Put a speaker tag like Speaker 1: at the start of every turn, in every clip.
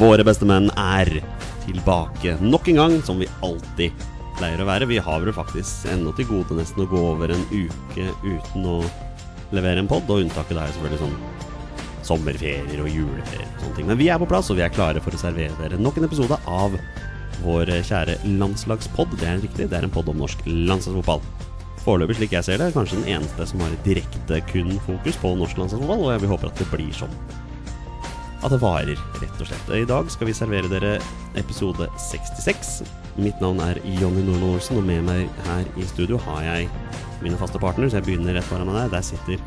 Speaker 1: Våre beste menn er tilbake nok en gang, som vi alltid pleier å være. Vi har vel faktisk ennå til gode nesten å gå over en uke uten å levere en pod, og unntaket er selvfølgelig sånn sommerferier og juleferier og sånne ting. Men vi er på plass, og vi er klare for å servere dere nok en episode av vår kjære landslagspod. Det er riktig, det er en pod om norsk landslagsfotball. Foreløpig, slik jeg ser det, er kanskje den eneste som har et direkte kun fokus på norsk landslagsfotball, og jeg vil håper at det blir sånn at det varer, rett og slett. I dag skal vi servere dere episode 66. Mitt navn er Jonny Normann Olsen, og med meg her i studio har jeg mine faste partnere, så jeg begynner rett foran meg der. Der sitter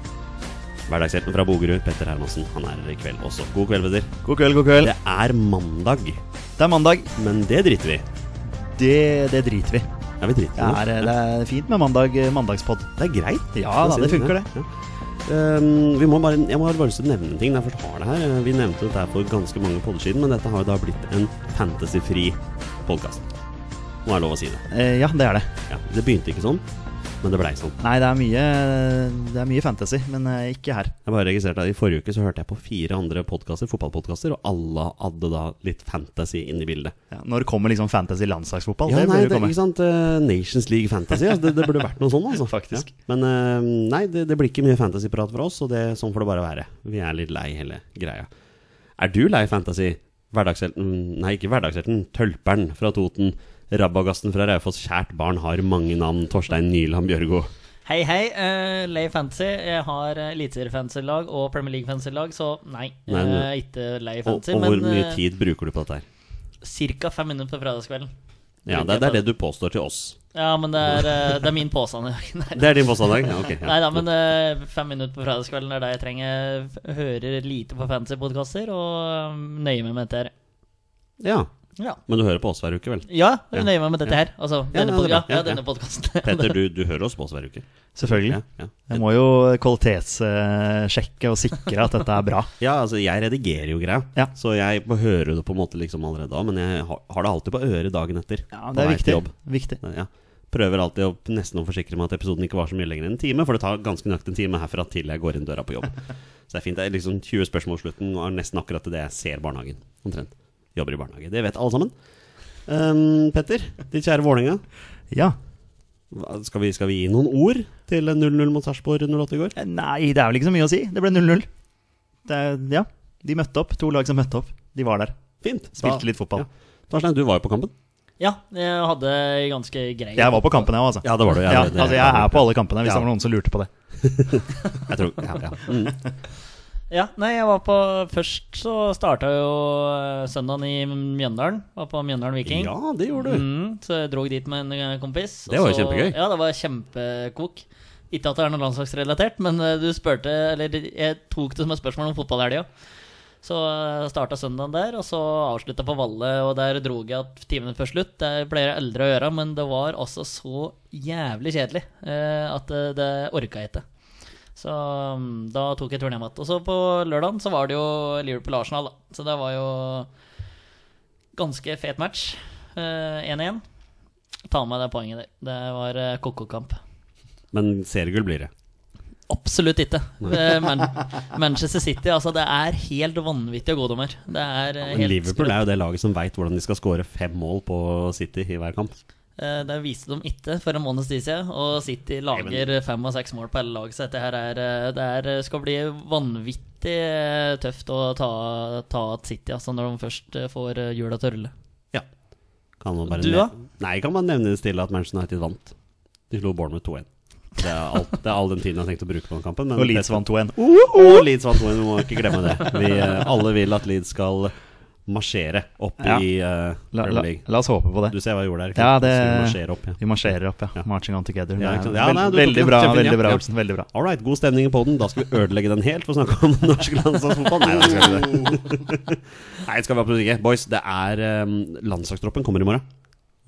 Speaker 1: hverdagshelten fra Bogerud, Petter Hermansen. Han er her i kveld også. God kveld, Peder.
Speaker 2: God kveld, god kveld.
Speaker 1: Det er mandag,
Speaker 2: Det er mandag.
Speaker 1: men det driter vi i.
Speaker 2: Det, det driter vi.
Speaker 1: Ja, vi driter i
Speaker 2: Det er, eh, det er fint med mandag, mandagspod.
Speaker 1: Det er greit.
Speaker 2: Ja da, det funker, det.
Speaker 1: Ja. Ehm, vi må bare, jeg må bare lyst til å nevne en ting når jeg først har det her. Eh, Vi nevnte dette her for ganske mange podder siden, men dette har jo da blitt en fantasyfri podkast. Må være lov å si det.
Speaker 2: Eh, ja, det er det.
Speaker 1: Ja, det begynte ikke sånn, men det blei sånn.
Speaker 2: Nei, det er mye, det er mye fantasy, men eh, ikke her.
Speaker 1: Jeg bare registrerte at I forrige uke så hørte jeg på fire andre podkaster, fotballpodkaster, og alle hadde da litt fantasy inn i bildet.
Speaker 2: Ja, når kommer liksom fantasy landslagsfotball?
Speaker 1: Ja,
Speaker 2: det
Speaker 1: nei,
Speaker 2: burde
Speaker 1: det,
Speaker 2: komme.
Speaker 1: ikke sant? Eh, Nations League Fantasy. Altså, det, det burde vært noe sånn, altså.
Speaker 2: Faktisk.
Speaker 1: Ja. Men eh, nei, det, det blir ikke mye fantasyprat fra oss, og det, sånn får det bare være. Vi er litt lei hele greia. Er du lei fantasy? Hverdagshelten Nei, ikke hverdagshelten. Tølperen fra Toten. Rabagasten fra Raufoss. Kjært barn har mange navn. Torstein Nylham Bjørgo.
Speaker 3: Hei, hei. Uh, Lay Fantasy. Jeg har eh, Eliteseriefantasy-lag og Premier League-fantasy-lag, så nei. jeg
Speaker 1: Nei, men-
Speaker 3: er ikke Lay
Speaker 1: Og,
Speaker 3: Fantasy.
Speaker 1: og hvor
Speaker 3: men eh,
Speaker 1: mye tid bruker du på dette her?
Speaker 3: ca. fem minutter på fredagskvelden.
Speaker 1: Ja, det, det er det du påstår til oss.
Speaker 3: Ja, men det er, eh, det er min påstand. nei,
Speaker 1: Det er din påstand, Dag? Ja, ok, ja.
Speaker 3: nei da, men eh, fem minutter på fredagskvelden er det jeg trenger. Jeg Hører lite på fantasy-podkaster og eh, nøyer meg med dette her.
Speaker 1: ja.
Speaker 3: Ja.
Speaker 1: Men du hører på oss hver uke, vel?
Speaker 3: Ja,
Speaker 1: Ja.
Speaker 3: jeg nøyer meg med dette her. Altså,
Speaker 1: Ja, ja, det er
Speaker 3: denne, pod- ja,
Speaker 1: bra. Ja,
Speaker 3: ja,
Speaker 1: ja.
Speaker 3: denne podkasten.
Speaker 1: Petter, du, du hører oss på oss hver uke?
Speaker 2: Selvfølgelig.
Speaker 1: Ja, ja.
Speaker 2: Jeg må jo kvalitetssjekke og sikre at dette er bra.
Speaker 1: Ja, altså jeg redigerer jo greia,
Speaker 2: Ja.
Speaker 1: så jeg må høre det på en måte liksom allerede da, men jeg har, har det alltid på øret dagen etter.
Speaker 2: Ja,
Speaker 1: på
Speaker 2: det
Speaker 1: vei
Speaker 2: er
Speaker 1: til
Speaker 2: viktig.
Speaker 1: jobb.
Speaker 2: viktig.
Speaker 1: Ja. Prøver alltid å, nesten å forsikre meg at episoden ikke var så mye lenger enn en time, for det tar ganske nøyaktig en time herfra til jeg går inn døra på jobb. Så det er fint. Det er liksom 20 spørsmål i slutten, og er nesten akkurat til det jeg ser barnehagen. Omtrent. Jobber i barnehage. Det vet alle sammen. Ehm, Petter, ditt kjære Vålerenga.
Speaker 2: Ja.
Speaker 1: hva- Skal vi, skal vi gi noen ord til 0-0 mot Sarpsborg 08 i går?
Speaker 2: Eh, Nei, det er vel ikke så mye å si. Det ble 0-0. Det er- Ja, de møtte opp. To lag som møtte opp. De var der.
Speaker 1: Fint.
Speaker 2: Spilte litt fotball.
Speaker 1: Ja. Torstein, du var jo på kampen.
Speaker 3: Ja, jeg hadde ganske grei
Speaker 2: Jeg var på kampen, jeg òg, altså.
Speaker 1: Ja, det var du.
Speaker 2: Ja, altså, jeg er på alle kampene, hvis
Speaker 1: Ja.
Speaker 2: det var noen som lurte på det.
Speaker 1: Jeg tror, ja, ja. Mm.
Speaker 3: Ja, nei, jeg var på Først så starta jo eh, søndagen i Mjøndalen. Var på Mjøndalen Viking.
Speaker 1: Ja, det gjorde du.
Speaker 3: Mm, så jeg dro dit med en eh, kompis. og
Speaker 1: Det var jo
Speaker 3: så-
Speaker 1: kjempegøy.
Speaker 3: Ja, det var kjempekok. Ikke at det er noe landslagsrelatert, men eh, du spurte Eller jeg tok det som et spørsmål om fotballhelga. Så eh, starta søndagen der, og så avslutta på Valle, og der dro jeg at ti minutter før slutt. Det pleier jeg aldri å gjøre, men det var altså så jævlig kjedelig eh, at eh, det orka jeg ikke. Så mm, da tok jeg turen hjem igjen. Og så på lørdagen så var det jo Liverpool-Arsenal, da. Så det var jo ganske fet match. Eh, 1-1. Ta med deg poenget der. Det var eh, ko-ko-kamp.
Speaker 1: Men seriegull blir det.
Speaker 3: Absolutt ikke. Eh, Man Manchester City, altså det er helt vanvittige godedommer. Det er eh, helt
Speaker 1: Liverpool er jo det laget som veit hvordan de skal skåre fem mål på City i hver kamp.
Speaker 3: Eh, Det viste de ikke for en måneds tid siden, og City
Speaker 1: Nei,
Speaker 3: lager fem og seks mål på hele laget. Så dette her er, eh, det er, skal bli vanvittig eh, tøft å ta, ta at City, altså, når de først eh, får eh, hjula til å rulle.
Speaker 1: Ja. Kan man bare
Speaker 3: Du,
Speaker 1: nev-
Speaker 3: da?
Speaker 1: Nei, kan man nevne stille at Manchester United vant. De slo Bournemouth 2-1. Det, er alt- det er all den tiden jeg har tenkt å bruke på den kampen. Men
Speaker 2: Og Leeds vant 2-1.
Speaker 1: Og Leeds vant 2-1, vi må ikke glemme det. Vi eh, alle vil at Leeds skal marsjere opp
Speaker 2: Ja.
Speaker 1: i eh,
Speaker 2: La,
Speaker 1: Premier
Speaker 2: la,
Speaker 1: League.
Speaker 2: la oss håpe på det.
Speaker 1: Du ser hva jeg gjorde der? ikke
Speaker 2: Ja,
Speaker 1: sant?
Speaker 2: det-
Speaker 1: Skulle marsjere opp, ja.
Speaker 2: Vi marsjerer opp, ja.
Speaker 1: Ja.
Speaker 2: Marching on together.
Speaker 1: Ja, ikke sant?
Speaker 2: Det er
Speaker 1: Ja, nei, du tok
Speaker 2: veldig,
Speaker 1: den.
Speaker 2: bra,
Speaker 1: Kjempefin, ja.
Speaker 2: veldig bra,
Speaker 1: Ja.
Speaker 2: Olsen. Veldig bra.
Speaker 1: All right, god stemning i poden. Da skal vi ødelegge den helt for å snakke om norsk landslagsfotball. Nei, det skal vi ikke. Nei, det skal vi absolutt ikke. Boys, det er um, landslagstroppen kommer i morgen.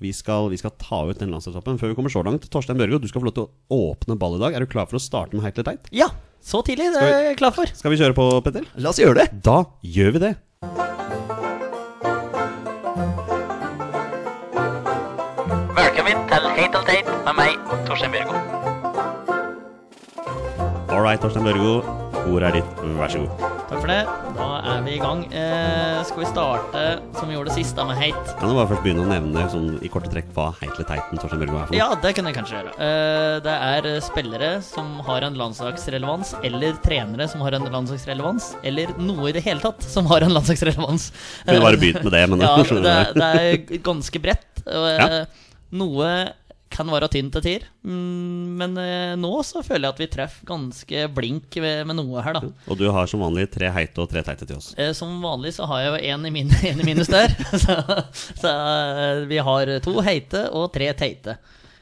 Speaker 1: Vi skal, vi skal ta ut den landslagstroppen før vi kommer så langt. Torstein Børgo, du skal få lov til å åpne ball i dag. Er du klar for å starte med heit eller teit?
Speaker 3: Ja! Så tidlig, det
Speaker 1: Skal
Speaker 3: er jeg klar for.
Speaker 1: Skal vi kjøre på, Petter?
Speaker 2: La oss gjøre det!
Speaker 1: Da gjør vi det.
Speaker 3: Velkommen til Hate and Tate med meg, Torstein Bjørgo.
Speaker 1: All right, Torstein Børgo. Ordet er ditt. Vær så god.
Speaker 3: Takk for det. Da er vi i gang. Eh, skal vi starte som vi gjorde sist, da, med Heit?
Speaker 1: Kan du bare først begynne å nevne sånn, i korte trekk hva Heitle Teiten Torstein Bjørgo er for noe?
Speaker 3: Ja, det kunne jeg kanskje gjøre. Eh, det er eh, spillere som har en landslagsrelevans, eller trenere som har en landslagsrelevans, eller noe i det hele tatt som har en landslagsrelevans. Eh,
Speaker 1: Kunne bare begynt med det, men
Speaker 3: ja,
Speaker 1: skjønner
Speaker 3: det,
Speaker 1: du det.
Speaker 3: det er ganske bredt. Og, eh, Noe kan være tynt til tider, mm, men eh, nå så føler jeg at vi treffer ganske blink ved- med noe her, da.
Speaker 1: Og du har som vanlig tre heite og tre teite til oss.
Speaker 3: Eh, Som vanlig så har jeg jo én i, min, en i minus der. Så, så eh, vi har to heite og tre teite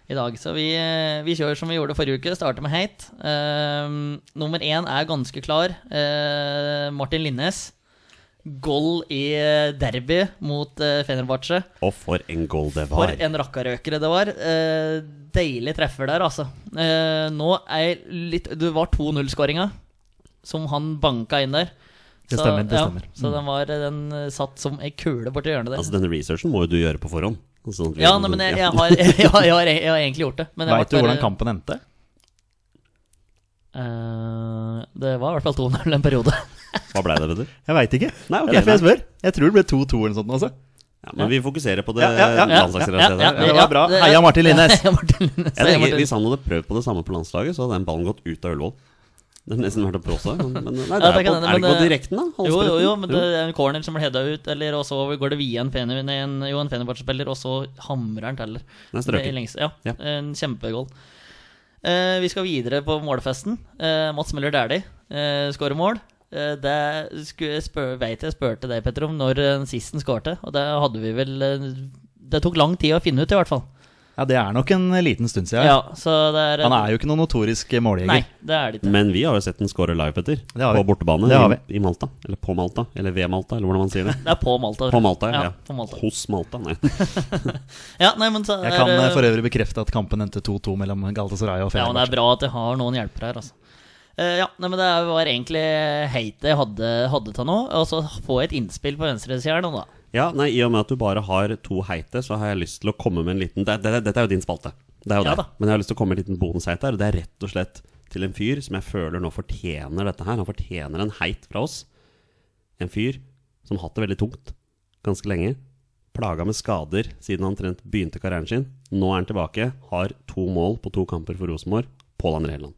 Speaker 3: i dag. Så vi, eh, vi kjører som vi gjorde forrige uke, starter med heit. Ehm, nummer én er ganske klar. Eh, Martin Linnes. Goal i eh, derby mot eh, Fenerbahçe.
Speaker 1: Og for en goal det
Speaker 3: For
Speaker 1: var.
Speaker 3: en rakkarøkere det var. Eh, deilig treffer der, altså. Eh, nå er jeg litt Det var 2-0-skåringa som han banka inn der.
Speaker 2: Det stemmer, det
Speaker 3: ja,
Speaker 2: stemmer.
Speaker 3: så den, var, den eh, satt som ei kule borti hjørnet der.
Speaker 1: Altså, denne researchen må jo du gjøre på forhånd. Sånn at vi-
Speaker 3: ja, nei, men jeg, jeg, har, jeg, har, jeg, har, jeg har egentlig gjort det. men jeg
Speaker 2: Veit du
Speaker 3: ble bare-
Speaker 2: hvordan kampen endte?
Speaker 3: Eh, det var i hvert fall 2-0 en periode.
Speaker 1: Hva ble det, vet du?
Speaker 2: Jeg veit ikke. Det
Speaker 1: Nei, ok,
Speaker 2: er derfor jeg
Speaker 1: nei.
Speaker 2: spør. Jeg tror det ble 2-2 eller noe sånt. Altså.
Speaker 1: Ja, men vi fokuserer på det
Speaker 2: Ja, ja, ja, ja,
Speaker 1: landslagsrelaterte.
Speaker 3: ja, ja,
Speaker 2: Det var bra.
Speaker 3: det-
Speaker 2: Heia Martin Linnes.
Speaker 3: Heia Martin Linnes.
Speaker 1: Jeg
Speaker 3: Heia
Speaker 1: tenker,
Speaker 3: Martin
Speaker 1: Hvis han hadde prøvd på det samme på landslaget, så hadde den ballen gått ut av Ullevål. Det har nesten vært å pråse, men, men nei, det
Speaker 3: Ja,
Speaker 1: er,
Speaker 3: det
Speaker 1: på,
Speaker 3: kan
Speaker 1: er
Speaker 3: hende,
Speaker 1: det
Speaker 3: men
Speaker 1: ikke på
Speaker 3: det-
Speaker 1: direkten, da?
Speaker 3: Jo, jo, jo,
Speaker 1: Halsbretten?
Speaker 3: men det er en corner som blir heada ut, eller, og så går det via en, Fener- nei, en, jo, en Fenerbahçe-spiller, og så hamrer han til.
Speaker 1: Den er strøken.
Speaker 3: I lengste- Ja,
Speaker 1: Ja.
Speaker 3: En kjempegoal. Eh, vi skal videre på målfesten. Eh, Mats Møller Dæhlie eh, skårer mål. Eh, det skulle jeg spør, vet jeg spurte deg, Petter, om når eh, sist han skårte, og det hadde vi vel eh, Det tok lang tid å finne ut, i hvert fall.
Speaker 2: Ja, det er nok en eh, liten stund siden.
Speaker 3: Ja, så det er eh,
Speaker 2: Han er jo ikke noen notorisk eh, måljeger.
Speaker 3: Nei, det er det ikke.
Speaker 1: Men vi har jo sett den score live, Petter.
Speaker 2: Det har vi.
Speaker 1: På bortebane
Speaker 2: Det har
Speaker 1: i, i Malta. Eller på Malta. Eller ved Malta, eller hvordan man sier det.
Speaker 3: Det er på Malta.
Speaker 1: På Malta, ja.
Speaker 3: ja. På Malta.
Speaker 1: Hos Malta, nei.
Speaker 3: Ja, nei, men så
Speaker 2: Jeg kan eh,
Speaker 3: eh,
Speaker 2: for øvrig bekrefte at kampen endte 2-2 mellom Galatasaray og
Speaker 3: Ja, men det er
Speaker 2: Fenerbahçe.
Speaker 3: bra at jeg har noen hjelpere her, altså. Eh, ja, nei, men det var egentlig heitet jeg hadde, hadde til nå. Og så får jeg et innspill på venstresida her nå, da.
Speaker 1: Ja, nei, I og med at du bare har to heite, så har jeg lyst til å komme med en liten det, det, Dette er jo din spalte. Det er jo
Speaker 3: Ja
Speaker 1: det.
Speaker 3: da.
Speaker 1: Men jeg har lyst til å komme med en liten bonusheit her. Og det er rett og slett til en fyr som jeg føler nå fortjener dette her. Han fortjener en heit fra oss. En fyr som har hatt det veldig tungt ganske lenge. Plaga med skader siden han trent begynte karrieren sin. Nå er han tilbake, har to mål på to kamper for Rosenborg. Pål André Helland.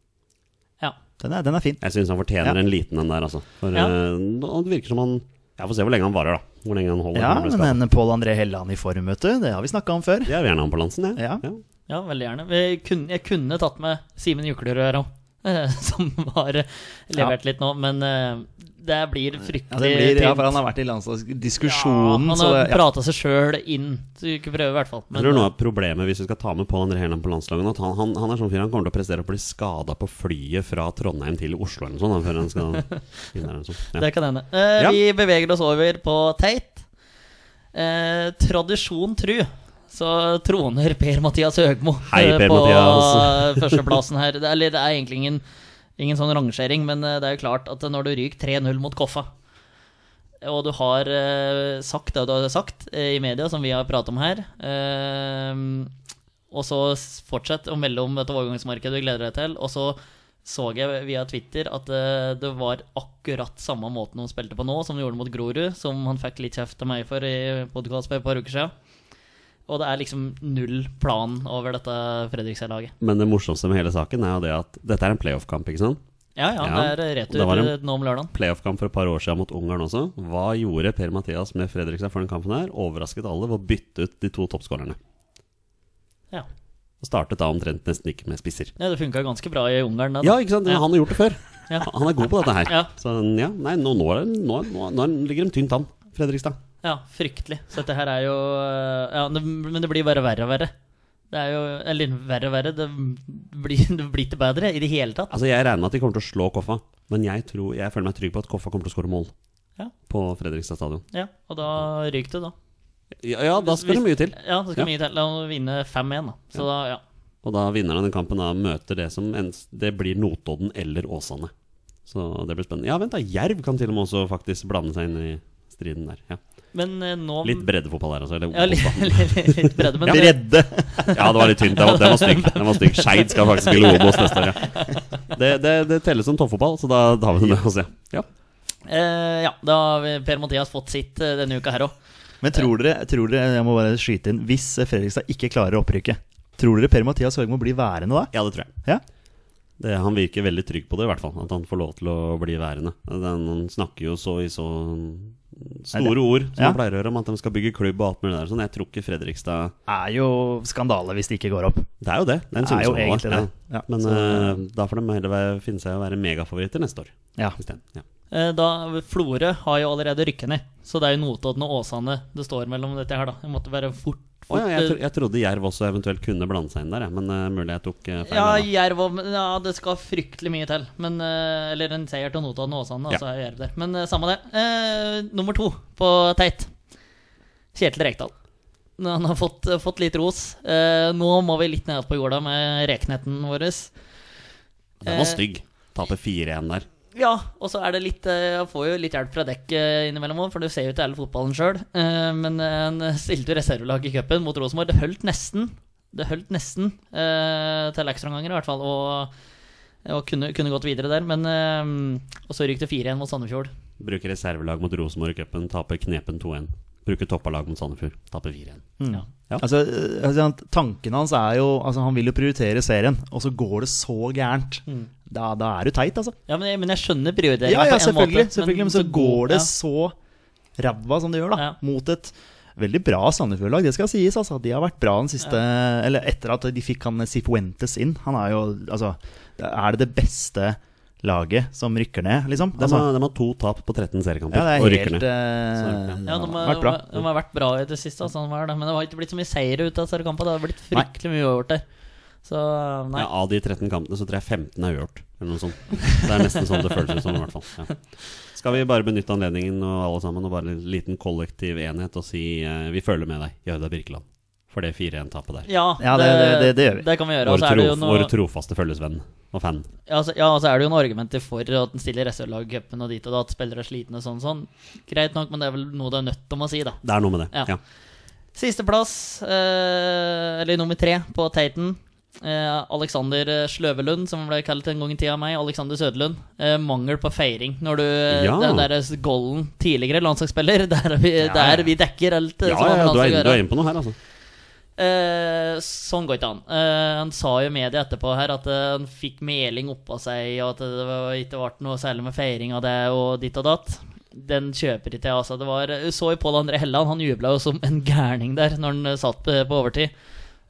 Speaker 3: Ja.
Speaker 2: Den er, den er fin.
Speaker 1: Jeg syns han fortjener
Speaker 2: Ja.
Speaker 1: en liten en der, altså. For
Speaker 3: Ja.
Speaker 1: eh, nå- det virker som han Jeg får se hvor lenge han varer, da. Hvor lenge han holder.
Speaker 2: Ja,
Speaker 1: når han blir
Speaker 2: men
Speaker 1: skadet.
Speaker 2: en Pål André Helland i form, vet du. Det har vi snakka om før.
Speaker 1: Jeg vil gjerne ha ambulansen, jeg.
Speaker 2: Ja.
Speaker 3: ja, veldig gjerne. Jeg kunne, jeg kunne tatt med Simen Juklerød her òg, som har levert litt nå. Men eh, det blir fryktelig
Speaker 2: Ja, det blir, ja,
Speaker 3: tynt.
Speaker 2: for han har vært i landslagsdiskusjonen,
Speaker 3: Ja, han
Speaker 2: så
Speaker 3: har
Speaker 2: ja.
Speaker 3: prata seg sjøl inn. Så vi ikke prøve, i hvert fall.
Speaker 1: Jeg tror noe av problemet hvis vi skal ta med Pål André Helland på landslaget, nå, at han, han, han er sånn fyr han kommer til å prestere å bli skada på flyet fra Trondheim til Oslo eller noe sånt. da, Før han skal vinne eller noe sånt. Ja.
Speaker 3: Det kan hende. Eh,
Speaker 1: Ja.
Speaker 3: Vi beveger oss over på Teit. Eh, tradisjon tru så troner Per-Mathias Høgmo
Speaker 1: Hei,
Speaker 3: eh,
Speaker 1: Per
Speaker 3: på
Speaker 1: Mathias.
Speaker 3: eh, førsteplassen her. Det, eller det er egentlig ingen, ingen sånn rangering, men eh, det er jo klart at når du ryker 3-0 mot Koffa, og du har eh, sagt det du har sagt eh, i media, som vi har pratet om her eh, Og så s- fortsett å melde om dette overgangsmarkedet du gleder deg til. Og så så jeg via Twitter at eh, det var akkurat samme måten de spilte på nå, som de gjorde mot Grorud, som han fikk litt kjeft av meg for i podkast for et par uker siden. Og det er liksom null plan over dette Fredrikstad-laget.
Speaker 1: Men det morsomste med hele saken er jo det at dette er en playoff-kamp, ikke sant?
Speaker 3: Ja, ja,
Speaker 1: Ja,
Speaker 3: det er
Speaker 1: det
Speaker 3: retur
Speaker 1: var en-
Speaker 3: nå om lørdagen.
Speaker 1: Playoff-kamp for et par år siden mot Ungarn også. Hva gjorde Per-Mathias med Fredrikstad for den kampen her? Overrasket alle ved å bytte ut de to toppskårerne.
Speaker 3: Ja.
Speaker 1: Og startet da omtrent nesten ikke med spisser.
Speaker 3: Ja, det funka ganske bra i Ungarn. da.
Speaker 1: Ja, ikke sant?
Speaker 3: Ja.
Speaker 1: Han har gjort det før.
Speaker 3: Ja.
Speaker 1: Han er god på dette her.
Speaker 3: Ja.
Speaker 1: Så ja, nei, nå, nå, er det- nå, nå, nå ligger de tynt an, Fredrikstad.
Speaker 3: Ja, fryktelig. Så dette her er jo eh, ja, det, Men det blir bare verre og verre. Det er jo Eller verre og verre. Det blir, det blir ikke bedre i det hele tatt.
Speaker 1: Altså, Jeg regner med at de kommer til å slå Koffa, men jeg, tror, jeg føler meg trygg på at Koffa kommer til å skåre mål
Speaker 3: Ja.
Speaker 1: på Fredrikstad stadion.
Speaker 3: Ja, og da ryker det, da.
Speaker 1: Ja, ja, da skal det mye til.
Speaker 3: Ja, så skal
Speaker 1: Ja.
Speaker 3: mye til å vinne 5-1, da. Så da, ja.
Speaker 1: Og da vinneren av den kampen da møter det som en, Det blir Notodden eller Åsane. Så det blir spennende. Ja, vent da, Jerv kan til og med også faktisk blande seg inn i striden der. Ja.
Speaker 3: Men eh, nå
Speaker 1: Litt breddefotball der, altså. Eller,
Speaker 3: ja, litt, litt, litt bredde, men det-
Speaker 2: Bredde!
Speaker 1: Ja, det var litt tynt. Den var, den var stygg. Den var stygg. Skeid skal faktisk spille Obos neste år, ja. Det, det, det telles som toppfotball, så da, da har vi det med oss, ja. ja.
Speaker 3: Eh, ja, da har vi Per Mathias fått sitt eh, denne uka her òg.
Speaker 2: Men tror dere, tror dere jeg må bare skyte inn, hvis Fredrikstad ikke klarer å opprykket, tror dere Per-Mathias Høgmo blir værende da?
Speaker 1: Ja, det tror jeg.
Speaker 2: Ja?
Speaker 1: Det, han virker veldig trygg på det, i hvert fall. At han får lov til å bli værende. Den, han snakker jo så i så um, store ord som
Speaker 2: ja.
Speaker 1: han pleier å gjøre, om at de skal bygge klubb og alt mulig der. Sånn, jeg tror ikke Fredrikstad
Speaker 2: Er jo skandale hvis det ikke går opp.
Speaker 1: Det er jo det. Det er, en
Speaker 2: Det er jo
Speaker 1: Sundsvall,
Speaker 2: egentlig
Speaker 1: ja.
Speaker 2: det. Ja,
Speaker 1: Men
Speaker 2: så-
Speaker 1: eh, da får de heller være- finne seg i å være megafavoritter neste år
Speaker 2: Ja.
Speaker 1: isteden. Ja.
Speaker 3: Eh, da, Florø har jo allerede rykket ned, så det er jo Notodden og Åsane det står mellom dette her, da. Jeg måtte være fort,
Speaker 1: Å
Speaker 3: fort
Speaker 1: ja, jeg, tro, jeg trodde Jerv også eventuelt kunne blande seg inn der, jeg, men eh, mulig jeg tok eh, feil.
Speaker 3: Ja,
Speaker 1: der, da.
Speaker 3: Jerv og Ja, det skal fryktelig mye til. Men, eh, eller en seier til Notodden og Åsane, og så er Jerv der. Men eh, samme det. Eh, nummer to på Teit. Kjetil Rekdal. Nå, Han har fått, fått litt ros. Eh, nå må vi litt ned på jorda med reknetten vår.
Speaker 1: Den
Speaker 2: eh,
Speaker 1: var stygg. Taper 4-1 der.
Speaker 3: Ja, og så er det litt eh, Jeg får jo litt hjelp fra dekk eh, innimellom òg, for du ser jo til hele fotballen sjøl. Men eh, han stilte jo reservelag i cupen mot Rosenborg. Det holdt nesten. Det holdt nesten eh, til ekstraomganger, i hvert fall. Og, og kunne, kunne gått videre der. Men eh, Og så ryk det 4-1 mot Sandefjord.
Speaker 1: Bruker reservelag mot Rosenborg i cupen, taper knepen 2-1. Bruker toppa lag mot Sandefjord, taper 4-1.
Speaker 3: Ja.
Speaker 1: Ja.
Speaker 2: Altså, eh, altså, han- tanken hans er jo altså, Han vil jo prioritere serien, og så går det så gærent. Da, da er du teit, altså.
Speaker 3: Mm. Ja, men, jeg- men jeg skjønner prioriteringen.
Speaker 2: Ja, ja,
Speaker 3: på en
Speaker 2: selvfølgelig.
Speaker 3: måte,
Speaker 2: selvfølgelig men så går det
Speaker 3: ja.
Speaker 2: så ræva som det gjør, da.
Speaker 3: Ja.
Speaker 2: Mot et veldig bra Sandefjord-lag, det skal sies. altså. De har vært bra den siste Eller etter at de fikk han Sifuentes inn. Han er jo Altså, er det det beste laget som rykker ned, liksom?
Speaker 1: De,
Speaker 2: Altså,
Speaker 1: har, de har to tap på 13 seriekamper
Speaker 2: ja, det
Speaker 1: og
Speaker 2: er
Speaker 1: rykker
Speaker 2: helt
Speaker 1: ned.
Speaker 2: eh,
Speaker 1: Så,
Speaker 3: Ja, de har,
Speaker 2: vært bra.
Speaker 3: De, har vært bra i det siste, altså, de har det. men det har ikke blitt så mye seire ut av disse kampene. Det har blitt
Speaker 2: Nei.
Speaker 3: fryktelig mye uavgjort der. Så nei.
Speaker 1: Ja, av de 13 kampene så tror jeg 15 er uavgjort, eller noe sånt. Det er nesten sånn det føles ut som, i hvert fall. Ja. Skal vi bare benytte anledningen og alle sammen, og bare en liten kollektiv enhet, og si eh, vi føler med deg, Jarda Birkeland, for det 4-1-tapet der.
Speaker 3: Ja,
Speaker 2: Ja, det- det- det- det gjør vi.
Speaker 3: Det kan vi gjøre. Og
Speaker 1: Vår,
Speaker 3: så altså er det jo
Speaker 1: trof-
Speaker 3: noe,
Speaker 1: vår trofaste følgesvenn og fan.
Speaker 3: ja, så, ja, og så er det jo noen argumenter for at en stiller reservelag i cupen og dit og da, at spillere er slitne og sånn sånn. Greit nok, men det er vel noe du er nødt om å si, da.
Speaker 1: Det er noe med det.
Speaker 3: Ja.
Speaker 1: Ja.
Speaker 3: Sisteplass, eh, eller nummer tre på Taten. Eh, Alexander Sløvelund, som ble kalt en gang i tida av meg. Alexander Søderlund. Eh, mangel på feiring. Når du eh,
Speaker 1: Ja.
Speaker 3: Den der golden tidligere landslagsspiller, der er vi,
Speaker 1: Ja, ja.
Speaker 3: der vi dekker alt eh,
Speaker 1: Ja,
Speaker 3: som har
Speaker 1: ja, ja,
Speaker 3: med
Speaker 1: du er
Speaker 3: landslaget å
Speaker 1: inne
Speaker 3: gjøre.
Speaker 1: du er inne på noe her, altså.
Speaker 3: Eh, sånn går ikke an. Eh, han sa jo i media etterpå her at eh, han fikk meling oppå seg, og at det var, ikke ble noe særlig med feiring av det og ditt og datt. Den kjøper ikke jeg, altså. Det var, du så jo Pål André Helland, han jubla jo som en gærning der når han eh, satt på, på overtid.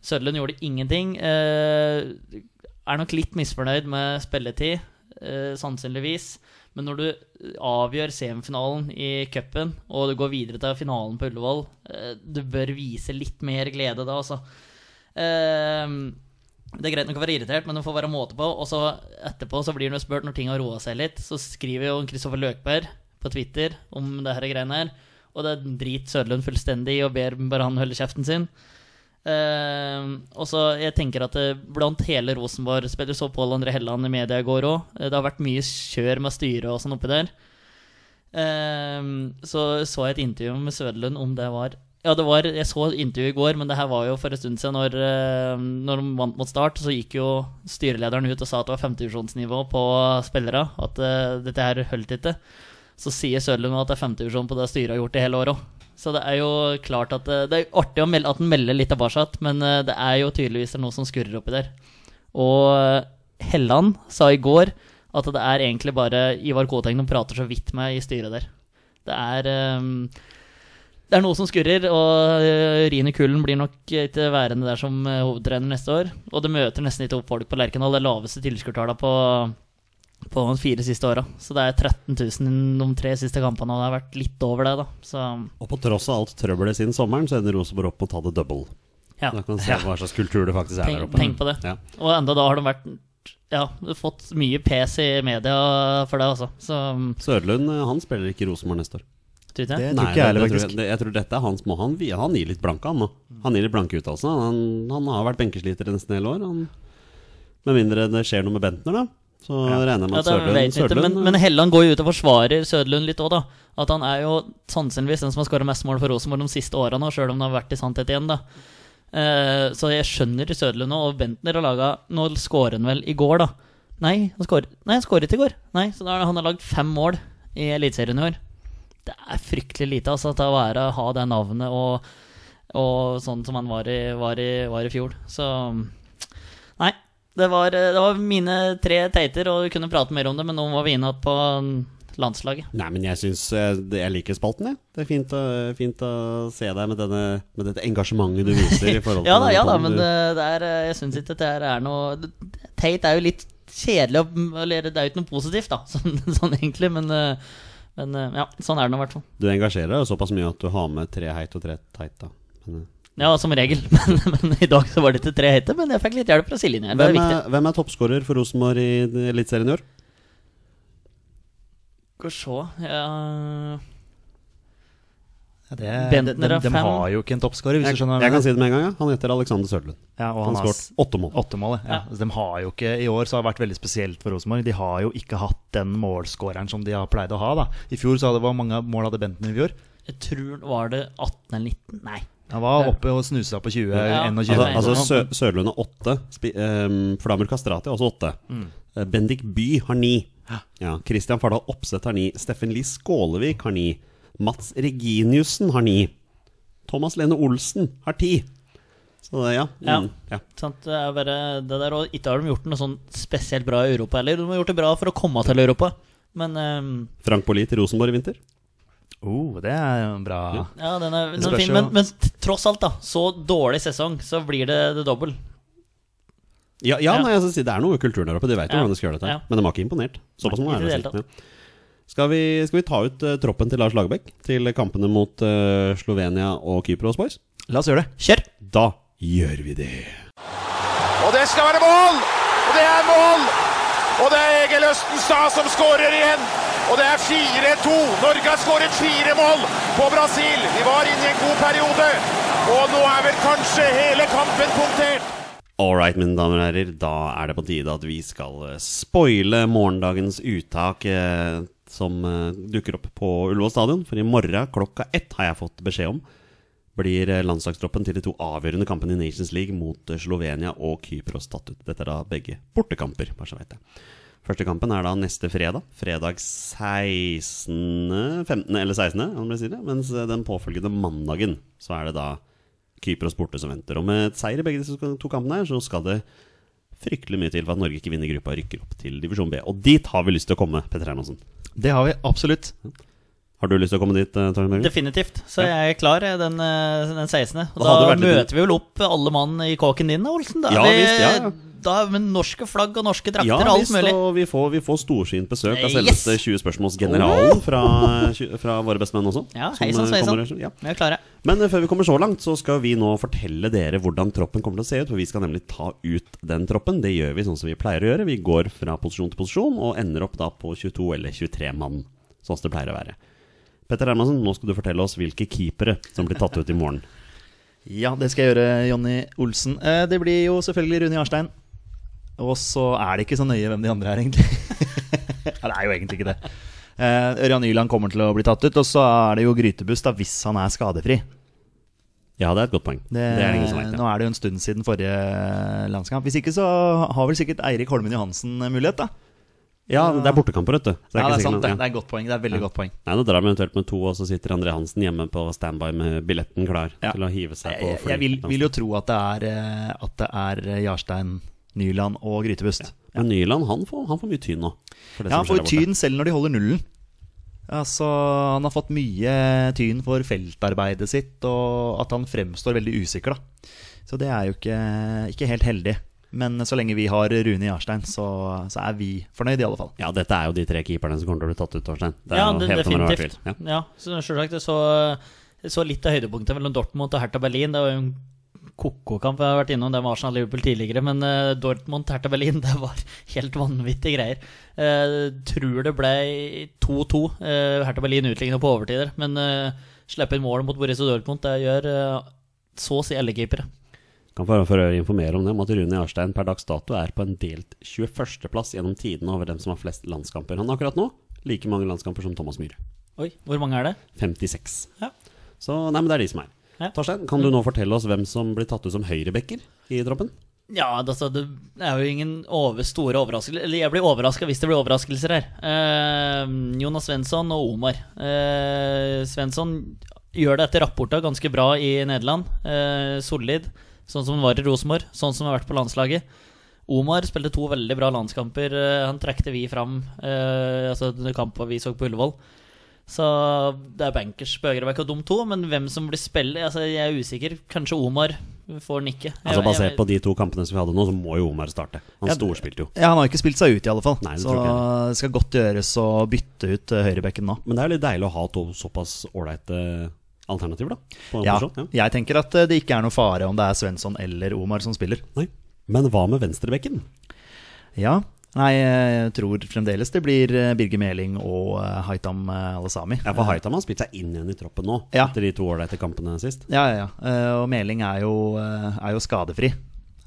Speaker 3: Sødlund gjorde ingenting. Eh, er nok litt misfornøyd med spilletid, eh, sannsynligvis. Men når du eh, avgjør semifinalen i cupen, og du går videre til finalen på Ullevål, eh, du bør vise litt mer glede da, altså. Eh, det er greit nok å være irritert, men det får være måte på. Og så etterpå så blir han jo spurt når ting har roa seg litt. Så skriver jo Kristoffer Løkberg på Twitter om det her greiene her. Og det driter Søderlund fullstendig i og ber bare han holde kjeften sin. Eh, og så jeg tenker at eh, blant hele Rosenborg spiller så Pål André Helland i media i går òg. Det har vært mye kjør med styret og sånn oppi der. Eh, så så jeg et intervju med Søderlund om det var Ja, det var, jeg så et intervju i går, men det her var jo for en stund siden. Når, eh, når de vant mot Start, så gikk jo styrelederen ut og sa at det var femtedivisjonsnivå på spillere. At eh, dette her holdt ikke. Så sier Søderlund at det er femtedivisjon på det styret har gjort i hele år òg. Så det er jo klart at eh, Det er artig å melde, at han melder litt tilbake, men eh, det er jo tydeligvis det er noe som skurrer oppi der. Og eh, Helland sa i går at det er egentlig bare Ivar Koteng de prater så vidt med i styret der. Det er eh, Det er noe som skurrer, og eh, Rini Kullen blir nok ikke værende der som eh, hovedtrener neste år. Og det møter nesten ikke opp folk på Lerkendal. Det er laveste tilskuertallene på på de fire siste åra. Så det er 13 000 de tre siste kampene, og det har vært litt over det, da. Så
Speaker 1: Og på tross av alt trøbbelet siden sommeren, så ender Rosenborg opp med å ta det double.
Speaker 3: ja.
Speaker 1: Da kan du se hva slags kultur det faktisk er
Speaker 3: Tenk-
Speaker 1: der oppe.
Speaker 3: tenk på det.
Speaker 1: Ja.
Speaker 3: Og enda da har de vært Ja, fått mye pes i media for det, altså. Så mm,
Speaker 1: Sørlund eh, han spiller ikke i Rosenborg neste år.
Speaker 3: tror ikke
Speaker 2: Det
Speaker 3: jeg.
Speaker 2: tror ikke jeg heller,
Speaker 1: tror
Speaker 2: faktisk.
Speaker 1: jeg, det, jeg tror dette er hans må han, vi- han gir litt blanke, han nå. Han gir litt blanke uttalelser. Han, han har vært benkesliter nesten hele år. Han, med mindre det skjer noe med Bentner, da. Så regner jeg med
Speaker 3: Ja,
Speaker 1: at
Speaker 3: det
Speaker 1: Sørlund,
Speaker 3: vet jeg ikke, men,
Speaker 1: Sørlund-
Speaker 3: men Helland går jo ut og forsvarer Søderlund litt òg, da. At han er jo sannsynligvis den som har skåra mest mål for Rosenborg de siste åra nå, sjøl om han har vært i sannhet igjen, da. Eh, så jeg skjønner Søderlund nå, og Bentner har laga Nå skårer han vel i går, da. Nei, han skårer, nei, han skåret ikke i går. Nei, Så da har han lagd fem mål i Eliteserien i år. Det er fryktelig lite, altså. Ta vare ha det navnet og, og sånn som han var i, var i, var i fjor. Så Nei. Det var, eh, det var mine tre teiter, og vi kunne prate mer om det, men nå var vi inne på um, landslaget.
Speaker 1: Nei, men jeg syns Jeg liker spalten, jeg. Det er fint, å- fint å se deg med, denne, med dette engasjementet du viser. i forhold til
Speaker 3: Ja da, ja da,
Speaker 1: denne
Speaker 3: men
Speaker 1: podden.
Speaker 3: det, det er, eh, jeg syns ikke at det her er noe Tate er jo litt kjedelig, og- eller det er jo ikke noe positivt, da, sånn, sånn egentlig, men, eh, men eh, ja, sånn er det nå i hvert fall.
Speaker 1: Du, du engasjerer deg jo såpass mye at du har med tre heit og tre teit, da. Men, eh,
Speaker 3: Ja, som regel, men, men i dag så var det ikke tre hete, men jeg fikk litt hjelp fra Siljen her. Det er
Speaker 1: hvem,
Speaker 3: viktig.
Speaker 1: er, hvem er toppskårer for Rosenborg i Eliteserien i år?
Speaker 3: Skal vi se ja.
Speaker 2: Ja,
Speaker 3: Bentner
Speaker 2: det,
Speaker 3: er
Speaker 2: de, de,
Speaker 3: fem.
Speaker 2: de har jo ikke en toppskårer, hvis
Speaker 1: Jeg,
Speaker 2: du skjønner hva
Speaker 1: jeg
Speaker 2: jeg
Speaker 1: kan
Speaker 2: mener.
Speaker 1: si det med en gang. Ja. Han heter Alexander Sørlund.
Speaker 2: Ja, og
Speaker 1: Han
Speaker 2: han
Speaker 1: har
Speaker 2: har
Speaker 1: skåret åtte mål.
Speaker 2: Åtte mål, ja.
Speaker 3: Ja.
Speaker 2: Så De har jo ikke, I år så har det vært veldig spesielt for Rosenborg. De har jo ikke hatt den målskåreren som de har pleid å ha. da I fjor så hadde hvor mange mål hadde Bentner i fjor?
Speaker 3: Jeg tror var det 18 eller 19? Nei.
Speaker 2: Han var oppe og snusa på 20,
Speaker 3: Ja.
Speaker 2: 21.
Speaker 1: Altså,
Speaker 3: Nei,
Speaker 1: altså
Speaker 2: Sånn.
Speaker 1: Sø Sørlund har åtte. Spi ehm, Flamur Kastrati har også åtte.
Speaker 3: Mm.
Speaker 1: Eh, Bendik By har ni. Ja, Christian Fardal Opseth har ni. Steffen Lie Skålevik har ni. Mats Reginiussen har ni. Thomas Lene Olsen har ti. Så det, ja.
Speaker 3: Ja.
Speaker 1: Mm, ja.
Speaker 3: Sant? Det er bare det der, og ikke har de gjort noe sånn spesielt bra i Europa heller. De har gjort det bra for å komme til Europa, men eh,
Speaker 1: Frank Poli til Rosenborg i vinter.
Speaker 2: Oh, det er jo bra.
Speaker 3: Ja, den er, den
Speaker 2: spørs
Speaker 3: er fin,
Speaker 2: jo-
Speaker 3: men, men t- tross alt, da. Så dårlig sesong, så blir det det dobbel.
Speaker 1: Ja, ja,
Speaker 3: Ja.
Speaker 1: Nei, jeg skal si, det er noe i kulturen der oppe. De vet jo
Speaker 3: Ja.
Speaker 1: hvordan de skal gjøre dette. her.
Speaker 3: Ja.
Speaker 1: Men de har ikke imponert. Såpass
Speaker 3: Nei,
Speaker 1: må det
Speaker 3: ikke i
Speaker 1: være. å
Speaker 3: det
Speaker 1: si. Ja. Skal, vi, skal vi ta ut eh, troppen til Lars Lagerbäck til kampene mot eh, Slovenia og Kypros Boys?
Speaker 2: La oss gjøre det.
Speaker 3: Kjør!
Speaker 1: Da gjør vi det.
Speaker 4: Og det skal være mål! Og det er mål! Og det er Egil Østenstad som skårer igjen. Og det er 4-2. Norge har skåret fire mål på Brasil. Vi var inne i en god periode. Og nå er vel kanskje hele kampen punktert.
Speaker 1: All right, mine damer og herrer. Da er det på tide at vi skal eh, spoile morgendagens uttak eh, som eh, dukker opp på Ullevål stadion. For i morgen klokka ett har jeg fått beskjed om blir eh, landslagstroppen til de to avgjørende kampene i Nations League mot eh, Slovenia og Kypros tatt ut. Dette er da begge bortekamper, bare så vet jeg. Første kampen er da neste fredag. Fredag 16. 15. eller 16., om jeg sier det. Mens eh, den påfølgende mandagen så er det da Kypros borte som venter. Og med et seier i begge disse to kampene her, så skal det fryktelig mye til for at Norge ikke vinner gruppa og rykker opp til divisjon B. Og dit har vi lyst til å komme, Petter Hermansen.
Speaker 2: Det har vi absolutt.
Speaker 1: Har du lyst til å komme dit, eh, Torgeir Børgen?
Speaker 3: Definitivt. Så jeg er klar jeg, den, eh, den 16. Og
Speaker 1: Da hadde
Speaker 3: da
Speaker 1: det vært litt-
Speaker 3: møter vi vel opp alle mann i kåken din, da, Olsen. Da.
Speaker 1: Ja,
Speaker 3: Det-
Speaker 1: visst, ja, ja.
Speaker 3: Da, med norske flagg og norske drakter
Speaker 1: Ja
Speaker 3: og alt
Speaker 1: visst,
Speaker 3: mulig.
Speaker 1: og vi får, vi får storsynt besøk av
Speaker 3: Eh,
Speaker 1: selveste
Speaker 3: yes!
Speaker 1: 20 spørsmålsgeneralen fra, fra våre bestemenn også.
Speaker 3: Ja,
Speaker 1: som,
Speaker 3: hei sann,
Speaker 1: eh,
Speaker 3: svei sann.
Speaker 1: kommer- ja.
Speaker 3: Vi er klare.
Speaker 1: Men eh, før vi kommer så langt, så skal vi nå fortelle dere hvordan troppen kommer til å se ut. For vi skal nemlig ta ut den troppen. Det gjør vi sånn som vi pleier å gjøre. Vi går fra posisjon til posisjon og ender opp da på 22 eller 23 mann. Sånn som det pleier å være. Petter Hermansen, nå skal du fortelle oss hvilke keepere som blir tatt ut i morgen.
Speaker 2: Ja, det skal jeg gjøre, Jonny Olsen. Eh, det blir jo selvfølgelig Rune Jarstein. Og så er det ikke så nøye hvem de andre er, egentlig. ja, det er jo egentlig ikke det. Eh, Ørjan Nyland kommer til å bli tatt ut, og så er det jo Grytebuss, da, hvis han er skadefri.
Speaker 1: Ja, det er et godt poeng. Det, er det ingen som vet.
Speaker 2: Nå
Speaker 1: Ja.
Speaker 2: er det jo en stund siden forrige landskamp. Hvis ikke så har vel sikkert Eirik Holmen Johansen mulighet, da.
Speaker 1: ja, det er bortekamper, vet du. Så
Speaker 2: ja,
Speaker 1: det er
Speaker 2: det er
Speaker 1: ikke sikkert
Speaker 2: sant, det.
Speaker 1: noe-
Speaker 2: Det er et godt poeng. Det er et veldig godt poeng.
Speaker 1: Nei, nå drar vi eventuelt med to, og så sitter André Hansen hjemme på standby med billetten klar
Speaker 2: Ja.
Speaker 1: til å hive seg på
Speaker 2: Jeg, jeg vil, vil jo tro at det er, eh, at det er eh, Jarstein, Nyland og Grytebust.
Speaker 1: Men Nyland, han får, han får mye tyn nå. For det
Speaker 2: Ja,
Speaker 1: som skjer
Speaker 2: for
Speaker 1: der borte.
Speaker 2: tyn selv når de holder nullen. Altså, han har fått mye tyn for feltarbeidet sitt, og at han fremstår veldig usikker, da. Så det er jo ikke, ikke helt heldig. Men så lenge vi har Rune Jarstein, så, så er vi fornøyd, i alle fall.
Speaker 1: Ja, dette er jo de tre keeperne som kommer til å bli tatt ut, Torstein. Det er
Speaker 3: Ja,
Speaker 1: jo
Speaker 3: det,
Speaker 1: helt om det er
Speaker 3: definitivt.
Speaker 1: tvil. Ja.
Speaker 3: Ja, så selvsagt, jeg så, jeg så litt av høydepunktet mellom Dortmund og Hertha Berlin. Det var jo en koko-kamp jeg har vært innom, det var Arsenal-Liverpool tidligere. Men eh, Dortmund-Hertha Berlin, det var helt vanvittige greier. Eh, tror det ble 2-2. Eh, Hertha Berlin utlignet på overtider. Men uh, slipper inn mål mot Borussia Dortmund, det gjør eh, så å si alle keepere.
Speaker 1: Kan for, for øvrig informere om det, om at Rune Jarstein per dags dato er på en delt 21.-plass gjennom tidene over dem som har flest landskamper. Han har akkurat nå like mange landskamper som Thomas Myhre.
Speaker 3: Oi, hvor mange er det?
Speaker 1: 56.
Speaker 3: Ja.
Speaker 1: Så nei, men det er de som er.
Speaker 3: Ja.
Speaker 1: Torstein, kan du nå fortelle oss hvem som blir tatt ut som høyrebacker i troppen?
Speaker 3: Ja, altså, det er jo ingen over, store overraskelser Eller jeg blir overraska hvis det blir overraskelser her. Eh, Jonas Svensson og Omar. Eh, Svensson gjør det etter rapporta ganske bra i Nederland. Eh, solid, sånn som han var i Rosenborg, sånn som han har vært på landslaget. Omar spilte to veldig bra landskamper. Eh, han trekte vi fram eh, altså, under kampen vi så på Ullevål. Så det er bankers på Øgrebekk og dum to, men hvem som blir spiller altså, Jeg er usikker. Kanskje Omar får nikke.
Speaker 1: Altså
Speaker 3: Jeg- jeg-
Speaker 1: Basert på de to kampene som vi hadde nå, så må jo Omar starte. Han
Speaker 2: Ja,
Speaker 1: storspilte jo.
Speaker 2: Ja, Han har ikke spilt seg ut, i alle fall.
Speaker 1: Nei, det
Speaker 2: så
Speaker 1: tror jeg
Speaker 2: det skal godt gjøres å bytte ut eh, høyrebekken nå.
Speaker 1: Men det er jo litt deilig å ha to såpass ålreite eh, alternativer, da. På en
Speaker 2: Ja,
Speaker 1: posisjon, ja.
Speaker 2: jeg tenker at eh, det ikke er noe fare om det er Svensson eller Omar som spiller.
Speaker 1: Nei. Men hva med venstrebekken?
Speaker 2: Ja, nei, jeg tror fremdeles det blir eh, Birger Meling og eh, Haitham eh, Al-Sami.
Speaker 1: Ja, for Haitam har spilt seg inn igjen i troppen nå,
Speaker 2: Ja.
Speaker 1: etter de to ålreite kampene sist.
Speaker 2: Ja, ja, ja. Eh, Og Meling er jo, eh, er jo skadefri.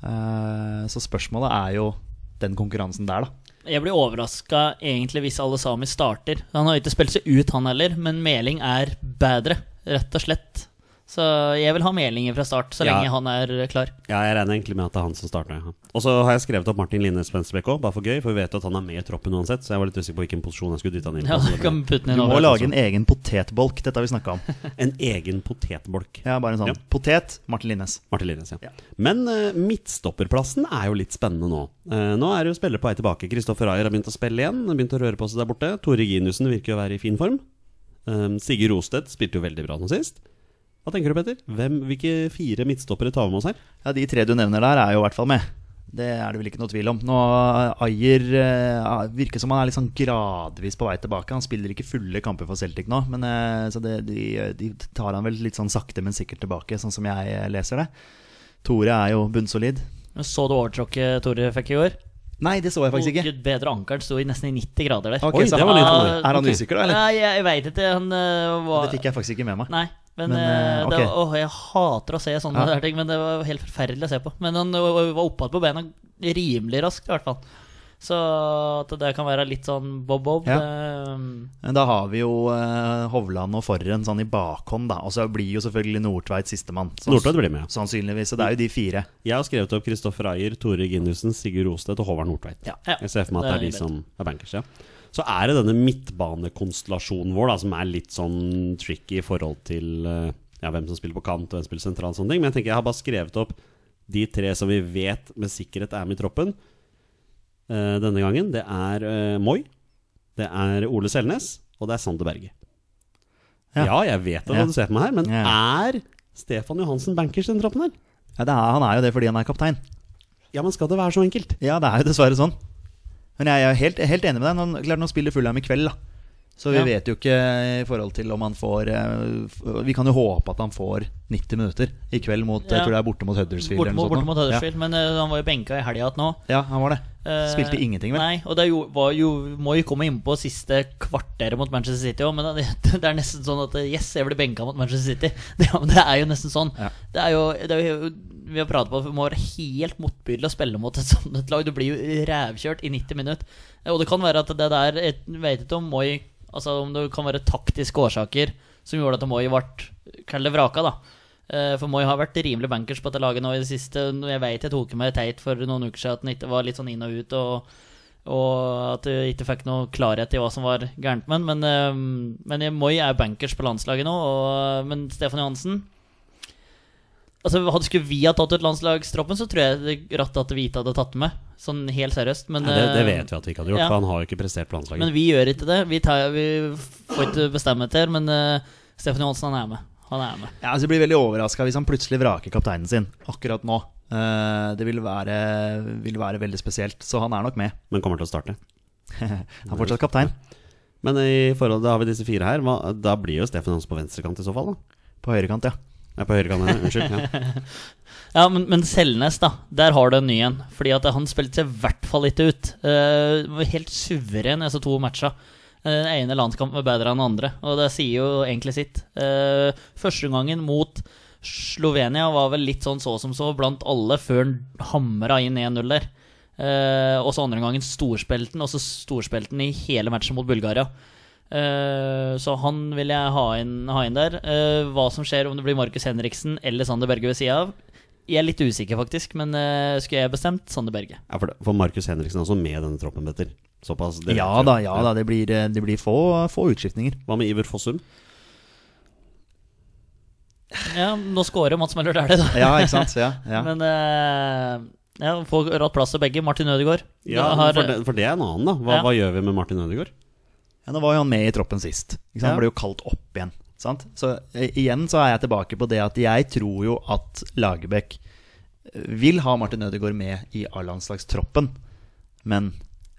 Speaker 2: Eh, Så spørsmålet er jo den konkurransen der, da.
Speaker 3: Jeg blir overraska egentlig hvis alle sami starter. Han har ikke spilt seg ut, han heller, men Meling er bedre, rett og slett. Så jeg vil ha Meling fra start, så
Speaker 1: Ja.
Speaker 3: lenge han er klar.
Speaker 1: Ja, jeg regner egentlig med at det er han som starter. Ja. Og så har jeg skrevet opp Martin Linnes venstrebekk òg, bare for gøy, for vi vet jo at han er med i troppen uansett, så jeg var litt usikker på hvilken posisjon jeg skulle dytte han inn
Speaker 3: Ja,
Speaker 1: på.
Speaker 3: du
Speaker 1: så det
Speaker 3: kan putte den
Speaker 2: Du
Speaker 3: inn
Speaker 2: må
Speaker 3: over. altså.
Speaker 2: lage en egen potetbolk, dette har vi snakka om.
Speaker 1: ble En egen potetbolk.
Speaker 2: Ja, bare en sånn
Speaker 1: Ja.
Speaker 2: potet Martin Linnes.
Speaker 1: Martin Linnes, ja. Men eh, midtstopperplassen er jo litt spennende nå. Eh, nå er det jo spillere på vei tilbake. Kristoffer Ayer har begynt å spille igjen. har Begynt å røre på seg der borte. Tore Ginussen virker jo å være i fin form. Um, Sigurd Rostedt spilte jo veldig bra nå sist. Hva tenker du, Petter? Hvem, hvilke fire midtstoppere tar vi med oss her?
Speaker 2: Ja, De tre du nevner der, er jo i hvert fall med. Det er det vel ikke noe tvil om. Nå Ayer eh, virker som han er litt sånn gradvis på vei tilbake. Han spiller ikke fulle kamper for Celtic nå, men eh, så det, de, de tar han vel litt sånn sakte, men sikkert tilbake, sånn som jeg eh, leser det. Tore er jo bunnsolid.
Speaker 3: Så du overtråkket Tore fikk i går?
Speaker 2: Nei, det så jeg faktisk ikke.
Speaker 3: Gud, bedre ankeren sto i nesten i 90 grader der.
Speaker 2: Ok,
Speaker 1: Oi,
Speaker 2: så
Speaker 1: det var
Speaker 2: han,
Speaker 1: litt
Speaker 3: annerledes.
Speaker 2: er han
Speaker 1: Ok.
Speaker 2: usikker, da? eller?
Speaker 3: Nei, jeg, jeg veit ikke. Han øh, var
Speaker 2: Det fikk jeg faktisk ikke med meg.
Speaker 3: Nei. Men,
Speaker 2: Men,
Speaker 3: eh,
Speaker 2: eh,
Speaker 3: det,
Speaker 2: ok.
Speaker 3: åh, jeg hater å se sånne
Speaker 2: Ja.
Speaker 3: der ting, men det var helt forferdelig å se på. Men han ø, ø, var oppe igjen på beina rimelig raskt, i hvert fall. Så at det kan være litt sånn bob-bob
Speaker 2: Ja.
Speaker 3: eh,
Speaker 2: Men Da har vi jo eh, Hovland og Forren sånn i bakhånd, da. Og så blir jo selvfølgelig Nordtveit sistemann. Sanns-
Speaker 1: Nordtveit blir med.
Speaker 2: Sannsynligvis. Så det er jo de fire.
Speaker 1: Jeg har skrevet opp Kristoffer Ayer, Tore Ginussen, Sigurd Rostedt og Håvard Nordtveit.
Speaker 3: Ja. Ja.
Speaker 1: Jeg ser for meg at det er
Speaker 3: Det
Speaker 1: de
Speaker 3: er
Speaker 1: som er bankers, ja. Så er det denne midtbanekonstellasjonen vår da, som er litt sånn tricky i forhold til eh, ja, hvem som spiller på kant og hvem som spiller sentralt og sånne ting. Men jeg tenker jeg har bare skrevet opp de tre som vi vet med sikkerhet er med i troppen eh, denne gangen. Det er eh, Moi, det er Ole Selnes, og det er Sander Berge.
Speaker 2: Ja.
Speaker 1: Ja, jeg vet det
Speaker 2: Ja.
Speaker 1: når du ser på meg her, men
Speaker 2: Ja.
Speaker 1: er Stefan Johansen bankers i den troppen her?
Speaker 2: Ja, det er, han er jo det fordi han er kaptein.
Speaker 1: Ja, men skal det være så enkelt?
Speaker 2: Ja, det er jo dessverre sånn. Men jeg er helt, helt enig med deg. Nå, klart, nå spiller Fulham i kveld, da. Så vi
Speaker 3: Ja.
Speaker 2: vet jo ikke i forhold til om han får eh, f- Vi kan jo håpe at han får 90 minutter i kveld mot
Speaker 3: Ja.
Speaker 2: Jeg tror det er borte mot Huddersfield.
Speaker 3: borte
Speaker 2: eller
Speaker 3: mot,
Speaker 2: noe sånt
Speaker 3: borte
Speaker 2: nå.
Speaker 3: mot Huddersfield. Men ø, han var jo benka i helga igjen nå.
Speaker 2: Ja. ja, han var det.
Speaker 3: Eh,
Speaker 2: Spilte ingenting, vel?
Speaker 3: Nei, og det er jo, var jo, må jo komme innpå siste kvarteret mot Manchester City òg, men det, det er nesten sånn at Yes, jeg ble benka mot Manchester City. Det, ja, men det er jo nesten sånn.
Speaker 2: Ja.
Speaker 3: Det er jo, det er jo Vi har pratet på at vi må være helt motbydelig å spille mot et sånt et lag. Du blir jo rævkjørt i 90 minutter. Og det kan være at det der Jeg vet ikke om Moi Altså om det kan være taktiske årsaker som gjorde at Moi ble kall det vraka, da. Eh, For Moi har vært rimelig bankers på dette laget nå i det siste. Jeg vet jeg tok meg teit for noen uker siden at han ikke var litt sånn inn og ut, og, og at jeg ikke fikk noe klarhet i hva som var gærent med han. Men, eh, men Moi er bankers på landslaget nå, og, men Stefan Johansen Altså, hadde Skulle vi ha tatt ut landslagstroppen, så tror jeg det ratt at vi ikke hadde tatt den med. Sånn helt seriøst. Men,
Speaker 1: Nei, det, det
Speaker 3: eh,
Speaker 1: vet vi at vi ikke hadde gjort,
Speaker 3: ja.
Speaker 1: for han har jo ikke prestert på landslaget.
Speaker 3: men vi gjør ikke det. Vi, tar, vi får ikke bestemme etter, men eh, Stefan Johansen han er med. Han er med.
Speaker 2: Ja, altså Jeg blir veldig overraska hvis han plutselig vraker kapteinen sin akkurat nå. Eh, det vil være, vil være veldig spesielt, så han er nok med.
Speaker 1: men kommer til å starte.
Speaker 2: Han er fortsatt kaptein
Speaker 1: Men i forhold da har vi disse fire her. Hva, da blir jo Stefan Hansen på venstrekant i så fall, da.
Speaker 2: på høyrekant, ja.
Speaker 1: Nei, på høyrekant, ja. unnskyld. Ja.
Speaker 3: Ja, men, men Selnes, da. Der har du en ny en. Fordi at han spilte seg i hvert fall ikke ut. Eh, var helt suveren i disse to matcha. Eh, Den ene landskampen var bedre enn den andre, og det sier jo egentlig sitt. Eh, første gangen mot Slovenia var vel litt sånn så som så blant alle, før han hamra inn 1-0 der. Eh, og så andre gangen storspelten, og så storspelten i hele matchen mot Bulgaria. Eh, så han vil jeg ha inn, ha inn der. Eh, hva som skjer om det blir Markus Henriksen eller Sander Berge ved sida av, Jeg er litt usikker, faktisk, men eh, skulle jeg bestemt Sander Berge?
Speaker 1: Ja, for, det- for Markus Henriksen er også med i denne troppen, Petter. Såpass. direkte.
Speaker 2: Ja da, ja da. Det blir, eh, det blir få, få utskiftninger.
Speaker 1: Hva med Iver Fossum?
Speaker 3: Ja, nå scorer Mats Møller Dæhlie, da.
Speaker 2: Ja, ikke sant. Ja, ja.
Speaker 3: Men eh, ja, får ratt plass til begge. Martin Ødegaard.
Speaker 1: Ja,
Speaker 3: Da har-
Speaker 1: for, det, for det er en annen, da. Hva,
Speaker 3: Ja.
Speaker 1: hva gjør vi med Martin Ødegaard?
Speaker 2: Ja, Nå var jo han med i troppen sist. Ikke sant?
Speaker 1: Ja.
Speaker 2: Han ble jo kalt opp igjen. Sant? Så eh, igjen så er jeg tilbake på det at jeg tror jo at Lagerbäck eh, vil ha Martin Ødegaard med i A-landslagstroppen. Men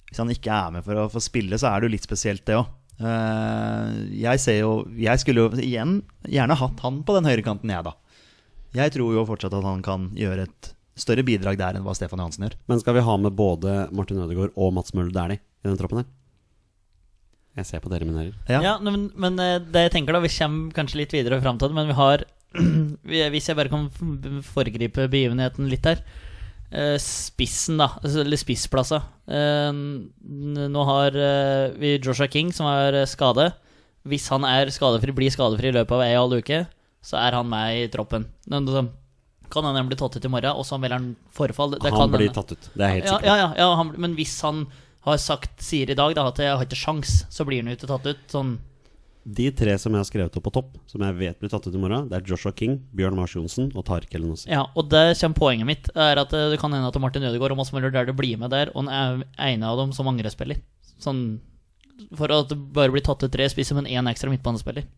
Speaker 2: hvis han ikke er med for å få spille, så er det jo litt spesielt, det òg. Jeg ser jo Jeg skulle jo igjen gjerne hatt han på den høyrekanten, jeg, da. Jeg tror jo fortsatt at han kan gjøre et større bidrag der enn hva Stefan Johansen gjør.
Speaker 1: Men skal vi ha med både Martin Ødegaard og Mats Møller Dæhlie i den troppen her? Jeg ser på dere, mine herrer.
Speaker 2: Ja.
Speaker 3: Ja, nei, men, men eh, det jeg tenker da Vi kommer kanskje litt videre fram til det, men vi har vi- Hvis jeg bare kan f- foregripe begivenheten litt her eh, Spissen, da. altså, Eller spissplassa. Eh, n- Nå har eh, vi Joshua King, som er eh, skade. Hvis han er skadefri, blir skadefri i løpet av ei halv uke, så er han med i troppen. Men det- Kan hende han blir tatt ut i morgen, og så velger han forfall. Det- det
Speaker 1: Han
Speaker 3: kan
Speaker 1: blir
Speaker 3: hende.
Speaker 1: tatt ut. Det er jeg helt
Speaker 3: Ja,
Speaker 1: sikkert.
Speaker 3: ja, ja, ja han, men hvis han har sagt, sier i dag da, at jeg har ikke sjans, så blir han jo ikke tatt ut. Sånn,
Speaker 1: De tre som jeg har skrevet opp på topp, som jeg vet blir tatt ut i morgen, det er Joshua King, Bjørn Mars Johnsen og Tariq Elenossi.
Speaker 3: ja, og der kommer poenget mitt. Er at eh, Det kan hende at Martin Ødegaard og Mads Møller Dæhlie blir med der, og den er- ene av dem som angrespiller. Sånn, for at det bare blir tatt ut tre spisser, men én ekstra midtbanespiller.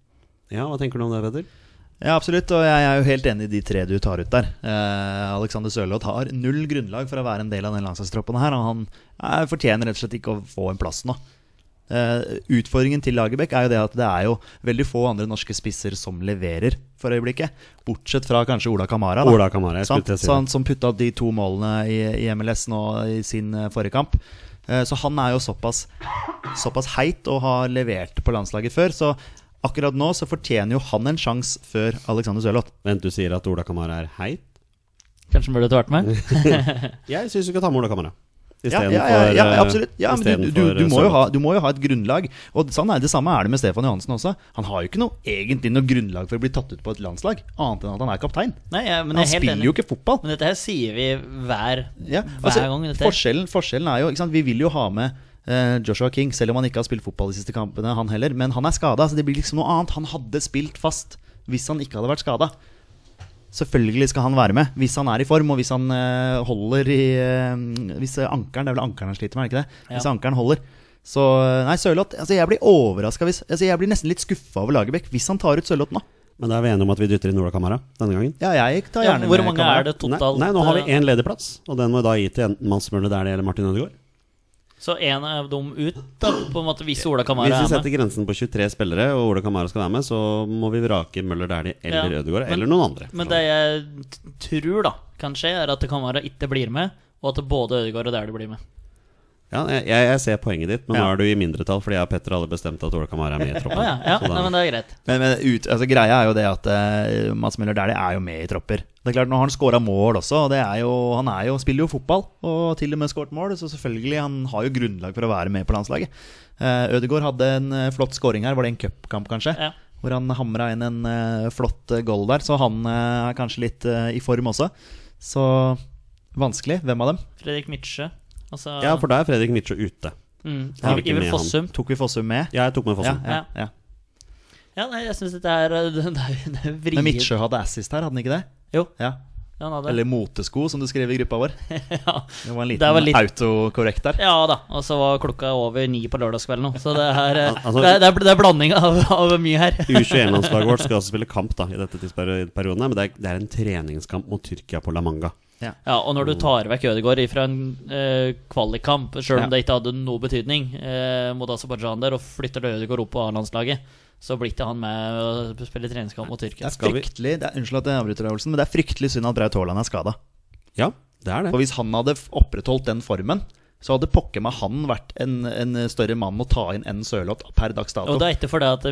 Speaker 1: Ja, hva tenker du om det, Peder?
Speaker 2: Ja, absolutt, og jeg er jo helt enig i de tre du tar ut der. Eh, Alexander Sørloth har null grunnlag for å være en del av den landslagstroppen her, og han eh, fortjener rett og slett ikke å få en plass nå. Eh, utfordringen til Lagerbäck er jo det at det er jo veldig få andre norske spisser som leverer for øyeblikket, bortsett fra kanskje Ola Kamara. da.
Speaker 1: Ola Kamara, jeg skulle
Speaker 2: Sant?
Speaker 1: til å si
Speaker 2: Så
Speaker 1: det.
Speaker 2: han som putta de to målene i, i MLS nå i sin eh, forrige kamp. Eh, Så han er jo såpass, såpass heit og har levert på landslaget før. Så akkurat nå så fortjener jo han en sjanse før Alexander Sørloth.
Speaker 1: Vent, du sier at Ola Kamara er heit?
Speaker 3: Kanskje han burde vært med?
Speaker 1: Jeg syns du skal ta med Ola Kamara.
Speaker 2: Ja,
Speaker 1: Istedenfor
Speaker 2: ja, ja, ja,
Speaker 1: eh,
Speaker 2: absolutt. Ja, men du, du, du, må jo ha, du må jo ha et grunnlag. Og sånn er det samme er det med Stefan Johansen også. Han har jo ikke noe, egentlig noe grunnlag for å bli tatt ut på et landslag, annet enn at han er kaptein.
Speaker 3: Nei, jeg, men
Speaker 2: han
Speaker 3: jeg er helt
Speaker 2: spiller jo
Speaker 3: enig.
Speaker 2: ikke fotball.
Speaker 3: Men dette her sier vi hver,
Speaker 2: Ja, altså,
Speaker 3: hver gang. Dette her.
Speaker 2: forskjellen, forskjellen er jo ikke sant? Vi vil jo ha med eh, Joshua King, selv om han ikke har spilt fotball de siste kampene, han heller. Men han er skada, så det blir liksom noe annet. Han hadde spilt fast hvis han ikke hadde vært skada. Selvfølgelig skal han være med, hvis han er i form, og hvis han eh, holder i eh, Hvis eh, ankeren Det er vel ankeren han sliter med, er det ikke det? Hvis
Speaker 3: Ja.
Speaker 2: ankeren holder. Så eh, Nei, Sørloth altså, Jeg blir overraska hvis altså, Jeg blir nesten litt skuffa over Lagerbäck hvis han tar ut Sørloth nå.
Speaker 1: Men da er vi enige om at vi dytter inn Ola Kamara denne gangen?
Speaker 2: Ja, jeg tar
Speaker 3: Ja,
Speaker 2: gjerne
Speaker 3: hvor
Speaker 2: med
Speaker 3: mange
Speaker 2: Kamara.
Speaker 3: er det
Speaker 1: Nei,
Speaker 3: totalt?
Speaker 1: nei, nå har
Speaker 3: eh,
Speaker 1: vi én ledig plass, og den må vi da gi til enten Mads Møller Dæhlie eller Martin Ødegaard.
Speaker 3: Så én av dem ut, da, på en måte, hvis Ola Kamara
Speaker 1: Hvis vi
Speaker 3: er med.
Speaker 1: setter grensen på 23 spillere, og Ola Kamara skal være med, så må vi vrake Møller Dæhlie eller
Speaker 3: Ja,
Speaker 1: Ødegaard,
Speaker 3: men-
Speaker 1: eller noen andre.
Speaker 3: Men det jeg t- tror da kan skje, er at Kamara ikke blir med, og at både Ødegaard og Dæhlie blir med.
Speaker 1: Ja, jeg, jeg ser poenget ditt, men nå
Speaker 2: Ja.
Speaker 1: er du i mindretall, fordi jeg og Petter alle bestemte at Ola Kamara er med i
Speaker 3: Å
Speaker 1: troppen.
Speaker 3: ja, ja.
Speaker 1: Så da-
Speaker 3: Nei, men det er greit.
Speaker 2: Men, men ut, altså, greia er jo det at uh, Mats Møller Dæhlie er jo med i tropper. Det er klart, Nå har han skåra mål også, og det er jo, han er jo, spiller jo fotball. Og til og med skåret mål, så selvfølgelig han har jo grunnlag for å være med på landslaget. Uh, Ødegaard hadde en eh, flott skåring her, var det en cupkamp kanskje?
Speaker 3: Ja.
Speaker 2: Hvor han hamra inn en eh, flott eh, goal der, så han eh, er kanskje litt eh, i form også. Så vanskelig. Hvem av dem?
Speaker 3: Fredrik Mitsjø. Altså,
Speaker 1: Ja, for da er Fredrik Mitsjø ute.
Speaker 3: mm,
Speaker 1: har vi ikke
Speaker 3: Iver
Speaker 1: med han.
Speaker 3: Fossum.
Speaker 2: Tok vi Fossum med?
Speaker 1: Ja, jeg tok med Fossen.
Speaker 2: ja, ja.
Speaker 3: Ja, nei, jeg syns dette er eh, det- det er- det er vrient.
Speaker 2: Men Midtsjø hadde assist her, hadde han ikke det?
Speaker 3: Jo.
Speaker 2: Ja.
Speaker 3: Ja, han hadde.
Speaker 2: Eller motesko, som du skrev i gruppa vår.
Speaker 3: ja.
Speaker 2: Det var en
Speaker 3: Det
Speaker 2: liten
Speaker 3: var litt-
Speaker 2: autokorrekt der.
Speaker 3: ja da. Og så var klokka over ni på lørdagskvelden nå, så det er, eh,
Speaker 1: Altså-
Speaker 3: det er, det er, det er blanding av, av mye her.
Speaker 1: U21-landslaget vårt skal også spille kamp da, i dette tidsperioden, her, men det er, det er en treningskamp mot Tyrkia på La Manga.
Speaker 3: Ja, og når du tar vekk Ødegaard fra en eh, kvalikkamp, sjøl
Speaker 1: Ja.
Speaker 3: om det ikke hadde noe betydning eh, mot Aserbajdsjan der, og flytter Ødegaard opp på A-landslaget, så blir ikke han med å spille treningskamp mot
Speaker 2: Det
Speaker 3: Tyrkia.
Speaker 2: er
Speaker 1: Skal vi-
Speaker 2: fryktelig, det er, Unnskyld at jeg avbryter deg, Olsen, men det er fryktelig synd at Braut Haaland er skada.
Speaker 1: Ja, det er det.
Speaker 2: For hvis han hadde f- opprettholdt den formen, så hadde pokker meg han vært en, en større mann å ta inn enn Sørloth per dags dato.
Speaker 3: Og det er ikke fordi at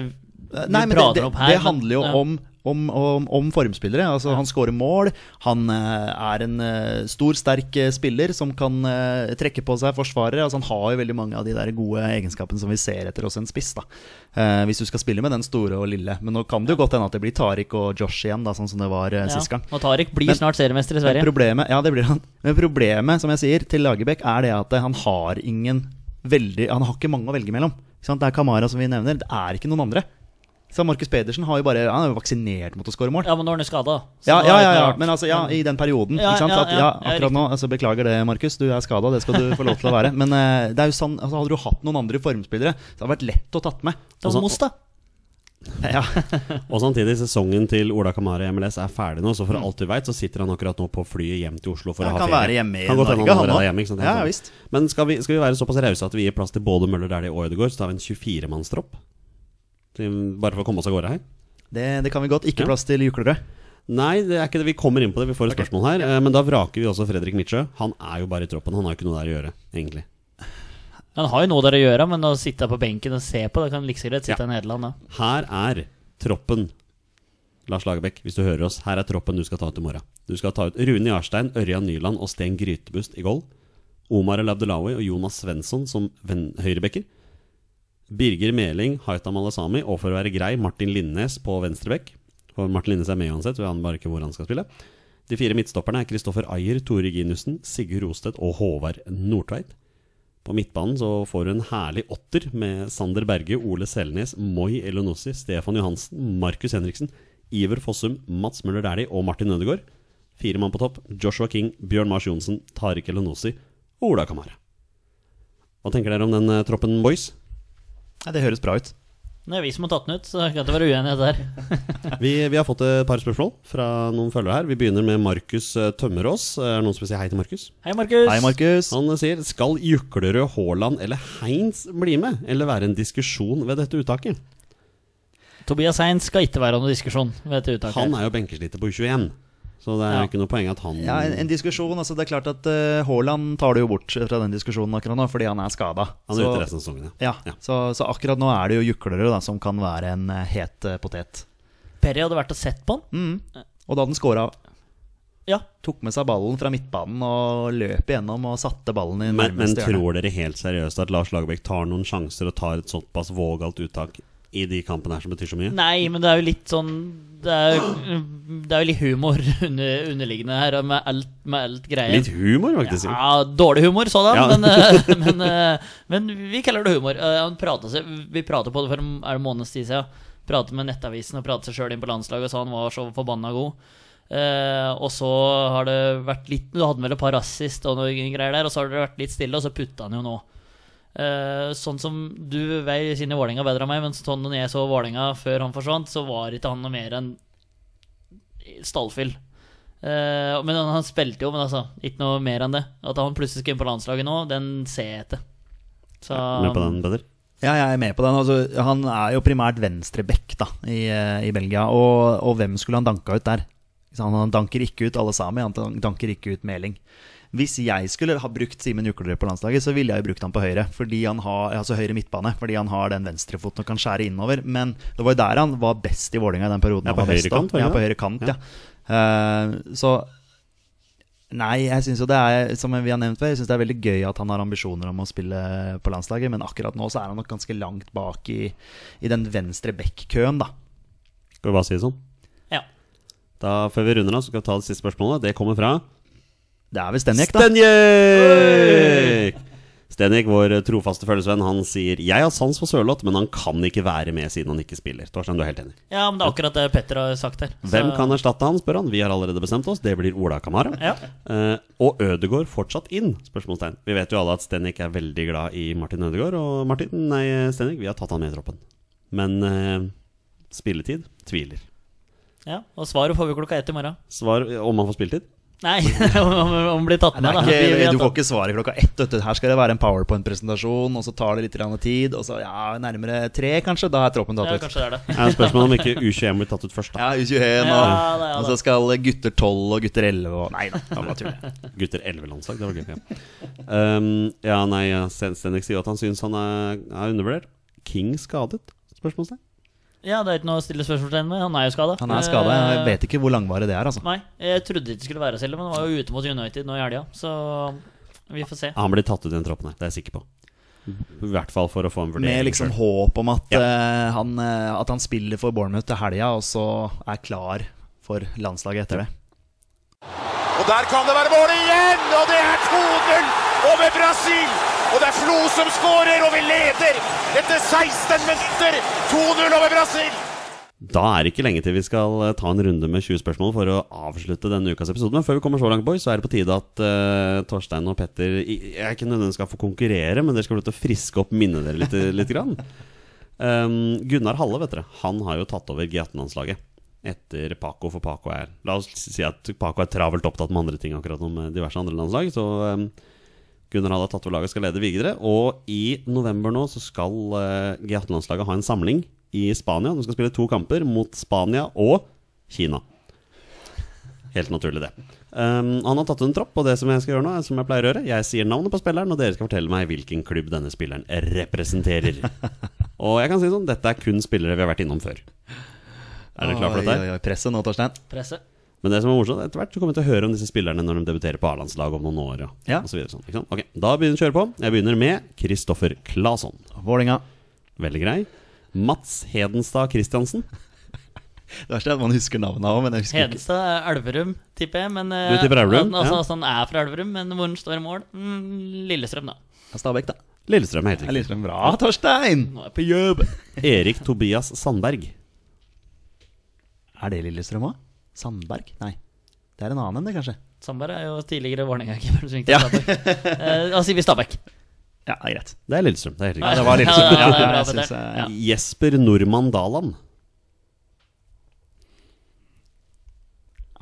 Speaker 2: Nei, men det,
Speaker 3: prater
Speaker 2: det,
Speaker 3: opp her,
Speaker 2: det
Speaker 3: men-
Speaker 2: handler jo
Speaker 3: ja.
Speaker 2: om, om, om, om formspillere. Altså, Han scorer mål. Han eh, er en eh, stor, sterk eh, spiller som kan eh, trekke på seg forsvarere. Altså, han har jo veldig mange av de der gode egenskapene som vi ser etter også en spiss. da Eh, Hvis du skal spille med den store og lille. Men nå kan det jo godt hende at det blir Tariq og Josh igjen, da, sånn som det var eh, sist gang.
Speaker 3: Og Tariq blir
Speaker 2: Men-
Speaker 3: snart seriemester i Sverige.
Speaker 2: Men problemet, ja, det blir han. Men problemet, som jeg sier, til Lagerbäck er det at han har ingen veldig Han har ikke mange å velge mellom. Ikke sant? Det er Kamara som vi nevner. Det er ikke noen andre. Så Markus Pedersen har jo bare, han er jo vaksinert mot å skåre mål.
Speaker 3: Ja, men nå er han jo skada.
Speaker 2: Ja, ja, ja, ja, men altså, ja, i den perioden.
Speaker 3: Ja,
Speaker 2: ikke sant?
Speaker 3: ja,
Speaker 2: At,
Speaker 3: ja,
Speaker 2: ja,
Speaker 3: ja,
Speaker 2: akkurat nå, altså, Beklager det, Markus. Du er skada, det skal du få lov til å være. Men eh, det er jo sann, altså, hadde du hatt noen andre formspillere, så hadde det vært lett å tatt med.
Speaker 3: Tom Mos, da.
Speaker 2: Ja,
Speaker 1: Og samtidig, sesongen til Ola Kamara i MLS er ferdig nå, så for alt du veit, så sitter han akkurat nå på flyet hjem til Oslo for
Speaker 2: Han
Speaker 1: å
Speaker 2: kan
Speaker 1: ha ferie.
Speaker 2: være hjemme i
Speaker 1: Kan godt hende
Speaker 2: Norge,
Speaker 1: han
Speaker 2: han
Speaker 1: allerede
Speaker 2: nå.
Speaker 1: er hjemme, ikke sant?
Speaker 2: Ja,
Speaker 1: Sånn.
Speaker 2: visst.
Speaker 1: Men skal vi, skal vi være såpass rause at vi gir plass til både Møller der det og Ødegaard, så tar vi en 24-mannstropp? Til- Bare for å komme oss av gårde her?
Speaker 2: det, det kan vi godt.
Speaker 1: Ja.
Speaker 2: Ikke plass til juklerød.
Speaker 1: Nei, det er ikke det. vi kommer inn på det. Vi får et spørsmål her. eh, Men da vraker vi også Fredrik Mitsjø. Han er jo bare i troppen. Han har jo ikke noe der å gjøre, egentlig.
Speaker 3: Han har jo noe der å gjøre, men å sitte på benken og se på, det kan like så greit sitte
Speaker 1: Ja.
Speaker 3: i Nederland, da.
Speaker 1: Her er troppen. Lars Lagerbäck, hvis du hører oss, her er troppen du skal ta ut i morgen. Du skal ta ut Rune Jarstein, Ørjan Nyland og Sten Grytebust i goal. Omar El Abdelawi og Jonas Svensson som ven- høyrebacker. Birger Meling, Haitam Alasami og for å være grei, Martin Linnes på venstreback. For Martin Linnes er med uansett, vi aner bare ikke hvor han skal spille. De fire midtstopperne er Kristoffer Ayer, Tore Ginussen, Sigurd Rostedt og Håvard Nordtveit. På midtbanen så får du en herlig åtter med Sander Berge, Ole Selnes, Moi Elonossi, Stefan Johansen, Markus Henriksen, Iver Fossum, Mats Møller Dæhlie og Martin Ødegaard. Fire mann på topp. Joshua King, Bjørn Mars Johnsen, Tariq Elonossi og Ola Kamara. Hva tenker dere om den eh, troppen, boys?
Speaker 2: Nei, Det høres bra ut.
Speaker 3: Det er vi som har tatt den ut, så det kan ikke være uenighet der.
Speaker 1: Vi, vi har fått et par spørsmål fra noen følgere her. Vi begynner med Markus eh, Tømmerås. Er det noen som vil si hei til Markus?
Speaker 3: Hei, Markus.
Speaker 2: Hei, Markus.
Speaker 1: Han eh, sier skal Juklerød, Haaland eller Heins bli med, eller være en diskusjon ved dette uttaket?
Speaker 3: Tobias Hein skal ikke være noen diskusjon ved dette uttaket.
Speaker 1: Han er jo benkesliter på U21, så det er
Speaker 3: Ja.
Speaker 1: jo ikke noe poeng at han
Speaker 2: Ja, en, en diskusjon, altså Det er klart at eh, Haaland tar det jo bort fra den diskusjonen akkurat nå, fordi han er skada.
Speaker 1: Han er ute resten av sesongen.
Speaker 2: ja,
Speaker 1: Ja.
Speaker 2: så, så akkurat nå er det jo juklere da, som kan være en eh, het eh, potet.
Speaker 3: Perry hadde vært og sett på
Speaker 2: Mm.
Speaker 3: han.
Speaker 2: Og da den scora,
Speaker 3: Ja.
Speaker 2: tok med seg ballen fra midtbanen og løp igjennom og satte ballen i
Speaker 1: Men, men
Speaker 2: nærmeste hjørne.
Speaker 1: tror dere helt seriøst at Lars Lagerbäck tar noen sjanser og tar et såpass vågalt uttak i de kampene her som betyr så mye?
Speaker 3: Nei, men det er jo litt sånn Det er jo, det er jo litt humor under, underliggende her, med alt, med alt greia.
Speaker 1: Litt humor, faktisk. Ja.
Speaker 3: Ja, dårlig humor sådan,
Speaker 1: Ja.
Speaker 3: men, eh, men, eh, men vi kaller det humor. Eh, Han pratet seg, vi pratet på det for en- er det en måneds tid siden. Pratet med Nettavisen og pratet seg sjøl inn på landslaget og sa han var så forbanna god. Eh, og så har det vært litt Du hadde vel et par rasist og noe greier der, og så har det vært litt stille, og så putta han jo nå. Eh, sånn som du veier inn i Vålerenga bedre enn meg, men sånn når jeg så Vålerenga før han forsvant, så var ikke han noe mer enn stallfyll. Eh, men han, han spilte jo, men altså, ikke noe mer enn det. At han plutselig skal inn på landslaget nå, den ser jeg etter. Så
Speaker 1: Med på den, Peder?
Speaker 2: Ja, jeg er med på den. Altså, han er jo primært venstreback da, i, eh, i Belgia, og, og hvem skulle han danka ut der? Ikke sant, Han danker ikke ut alle sammen, han dan- danker ikke ut Meling. Hvis jeg skulle ha brukt Simen Juklerød på landslaget, så ville jeg jo brukt han på høyre. Fordi han har, altså høyre midtbane, fordi han har den venstrefoten og kan skjære innover. Men det var jo der han var best i Vålerenga i den perioden.
Speaker 1: Ja,
Speaker 2: han
Speaker 1: på
Speaker 2: var best
Speaker 1: høyre
Speaker 2: da.
Speaker 1: kant, var det
Speaker 2: Ja, på
Speaker 1: det?
Speaker 2: høyre kant,
Speaker 1: Ja.
Speaker 2: ja. Eh, så Nei, jeg syns jo det er som vi har nevnt før, jeg synes det er veldig gøy at han har ambisjoner om å spille på landslaget, men akkurat nå så er han nok ganske langt bak i, i den venstre bekk-køen, da.
Speaker 1: Skal vi bare si det sånn?
Speaker 3: ja.
Speaker 1: Da, før vi runder av, så skal vi ta det siste spørsmålet. Det kommer fra
Speaker 2: Det er vel Stenjek, da.
Speaker 1: Stenjek! Stenjek, vår trofaste følgesvenn, han sier Jeg har sans for Sørloth, men han kan ikke være med siden han ikke spiller. Torstein, du er helt enig?
Speaker 3: ja, men det er akkurat det Petter har sagt her. Så-
Speaker 1: Hvem kan erstatte han, spør han. Vi har allerede bestemt oss. Det blir Ola Kamara.
Speaker 3: Ja.
Speaker 1: Eh, og Ødegård fortsatt inn? Spørsmålstegn. Vi vet jo alle at Stenik er veldig glad i Martin Ødegård. Og Martin, nei, Stenik, vi har tatt han med i troppen. Men eh, spilletid? Tviler.
Speaker 3: ja, Og svaret får vi klokka ett i morgen.
Speaker 1: Svar om han får spilletid?
Speaker 3: Nei, om om- om blir tatt
Speaker 2: Det
Speaker 3: med, da.
Speaker 2: er
Speaker 3: Vi- vi
Speaker 2: ikke,
Speaker 3: har
Speaker 2: du får
Speaker 3: tatt-
Speaker 2: ikke svaret klokka ett. vet du. Her skal det være en powerpoint-presentasjon, og så tar det litt grann tid, og så ja, nærmere tre, kanskje. Da er troppen
Speaker 3: ja,
Speaker 2: tatt ut.
Speaker 3: kanskje det er det.
Speaker 1: Det er et spørsmål om ikke U21 blir tatt ut først,
Speaker 2: Ja,
Speaker 1: da.
Speaker 2: U21, og,
Speaker 3: Ja, det er det.
Speaker 2: og så skal gutter 12 og gutter 11 og Nei da, det var bare tull.
Speaker 1: Gutter 11-landslag, det var gøy. Ja, um, ja nei, ja, Sten- Stenik sier jo at han syns han er, er undervurdert. King skadet? Spørsmålstegn.
Speaker 3: Ja, det er ikke noe å stille spørsmålstegn ved. Han er jo skada.
Speaker 2: Han er skada. Jeg vet ikke hvor langvarig det er, altså.
Speaker 3: Nei, jeg trodde ikke det skulle være så ille, men han var jo ute mot United nå i helga, så vi får se.
Speaker 1: Han blir tatt ut i den troppen her, det er jeg sikker på. I hvert fall for å få en vurdering.
Speaker 2: Med liksom
Speaker 1: selv.
Speaker 2: håp om at, eh, han, eh, at han spiller for Bournemouth til helga, og så er klar for landslaget etter det.
Speaker 4: Og der kan det være mål igjen! Og det er 2-0 over Brasil! Og det er Flo som skårer, og vi leder etter 16 minutter! 2-0 over Brasil!
Speaker 1: Da er det ikke lenge til vi skal eh, ta en runde med 20 spørsmål for å avslutte denne ukas episode. Men før vi kommer så langt, boys, så er det på tide at eh, Torstein og Petter i- Jeg er ikke nødvendigvis skal få konkurrere, men dere skal få lov til å friske opp minnet dere litt. eh, litt grann. Um, Gunnar Halle, vet dere, han har jo tatt over G18-landslaget etter Paco, for Paco er La oss si at Paco er travelt opptatt med andre ting akkurat nå, med diverse andre landslag. Så um, Gunnar Halle har tatt over laget og skal lede videre. Og i november nå så skal eh, G18-landslaget ha en samling i Spania. De skal spille to kamper mot Spania og Kina. Helt naturlig, det. Um, han har tatt ut en tropp, og det som jeg skal gjøre nå, er som jeg pleier å gjøre, jeg sier navnet på spilleren, og dere skal fortelle meg hvilken klubb denne spilleren representerer. og jeg kan si det sånn, dette er kun spillere vi har vært innom før. Er dere klar for dette? her?
Speaker 2: Oi, oi, oi, presset nå, Torstein.
Speaker 3: Presse.
Speaker 1: Men det som er morsomt, etter hvert så kommer vi til å høre om disse spillerne når de debuterer på A-landslaget om noen år. Og,
Speaker 2: Ja.
Speaker 1: og så videre, sånn, ikke sant? Ok, Da begynner vi å kjøre på. Jeg begynner med Kristoffer Claesson.
Speaker 2: Vålinga.
Speaker 1: Veldig grei. Mats Hedenstad Christiansen.
Speaker 2: Det verste er at man husker navnet òg, men jeg husker ikke.
Speaker 3: Hedenstad er Elverum, tipper jeg. Men, eh,
Speaker 1: Du tipper Elverum?
Speaker 3: Altså,
Speaker 1: Ja.
Speaker 3: altså, han er fra Elverum, men hvor han står i mål? Mm, Lillestrøm, da.
Speaker 2: Stabæk, da.
Speaker 1: Lillestrøm er
Speaker 2: Det er
Speaker 1: helt riktig.
Speaker 2: liksom bra, Torstein!
Speaker 3: Nå er jeg på jobb.
Speaker 1: Erik Tobias Sandberg.
Speaker 2: Er det Lillestrøm òg? Sandberg? Nei. Det er en annen enn det, kanskje.
Speaker 3: Sandberg er jo tidligere Vålerenga-keeper. som gikk til
Speaker 2: Ja.
Speaker 3: Stabæk. Eh, Da sier vi Stabæk.
Speaker 2: Ja, det er greit.
Speaker 1: Det er Lillestrøm. det er helt riktig
Speaker 2: det var Lillestrøm.
Speaker 3: Ja, det er
Speaker 2: Ja,
Speaker 3: bra,
Speaker 2: jeg synes,
Speaker 3: Petter.
Speaker 2: eh,
Speaker 3: Ja.
Speaker 1: Jesper Normann Daland.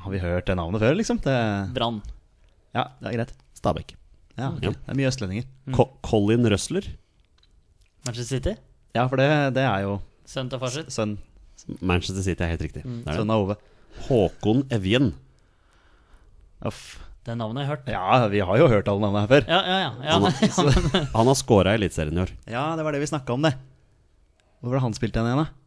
Speaker 2: Har vi hørt det navnet før, liksom? Det...
Speaker 3: Brann.
Speaker 2: Ja, det er greit.
Speaker 1: Stabæk.
Speaker 2: Ja, ok.
Speaker 1: Ja.
Speaker 2: Det er mye østlendinger.
Speaker 1: Co Colin Røsler.
Speaker 3: Manchester City.
Speaker 2: Ja, for det, det er jo
Speaker 3: Sønn til farsitt.
Speaker 2: sønn,
Speaker 1: Manchester City er helt riktig. Det er det.
Speaker 2: sønn av Ove.
Speaker 1: Håkon Evjen.
Speaker 2: Uff.
Speaker 3: Det navnet har jeg hørt.
Speaker 2: Ja, vi har jo hørt alle navnene her før.
Speaker 3: Ja, ja, ja. ja,
Speaker 1: Han
Speaker 3: ja.
Speaker 1: har, han har scora i Eliteserien i år.
Speaker 2: Ja, det var det vi snakka om, det. Hvor var det han spilte den igjen, da?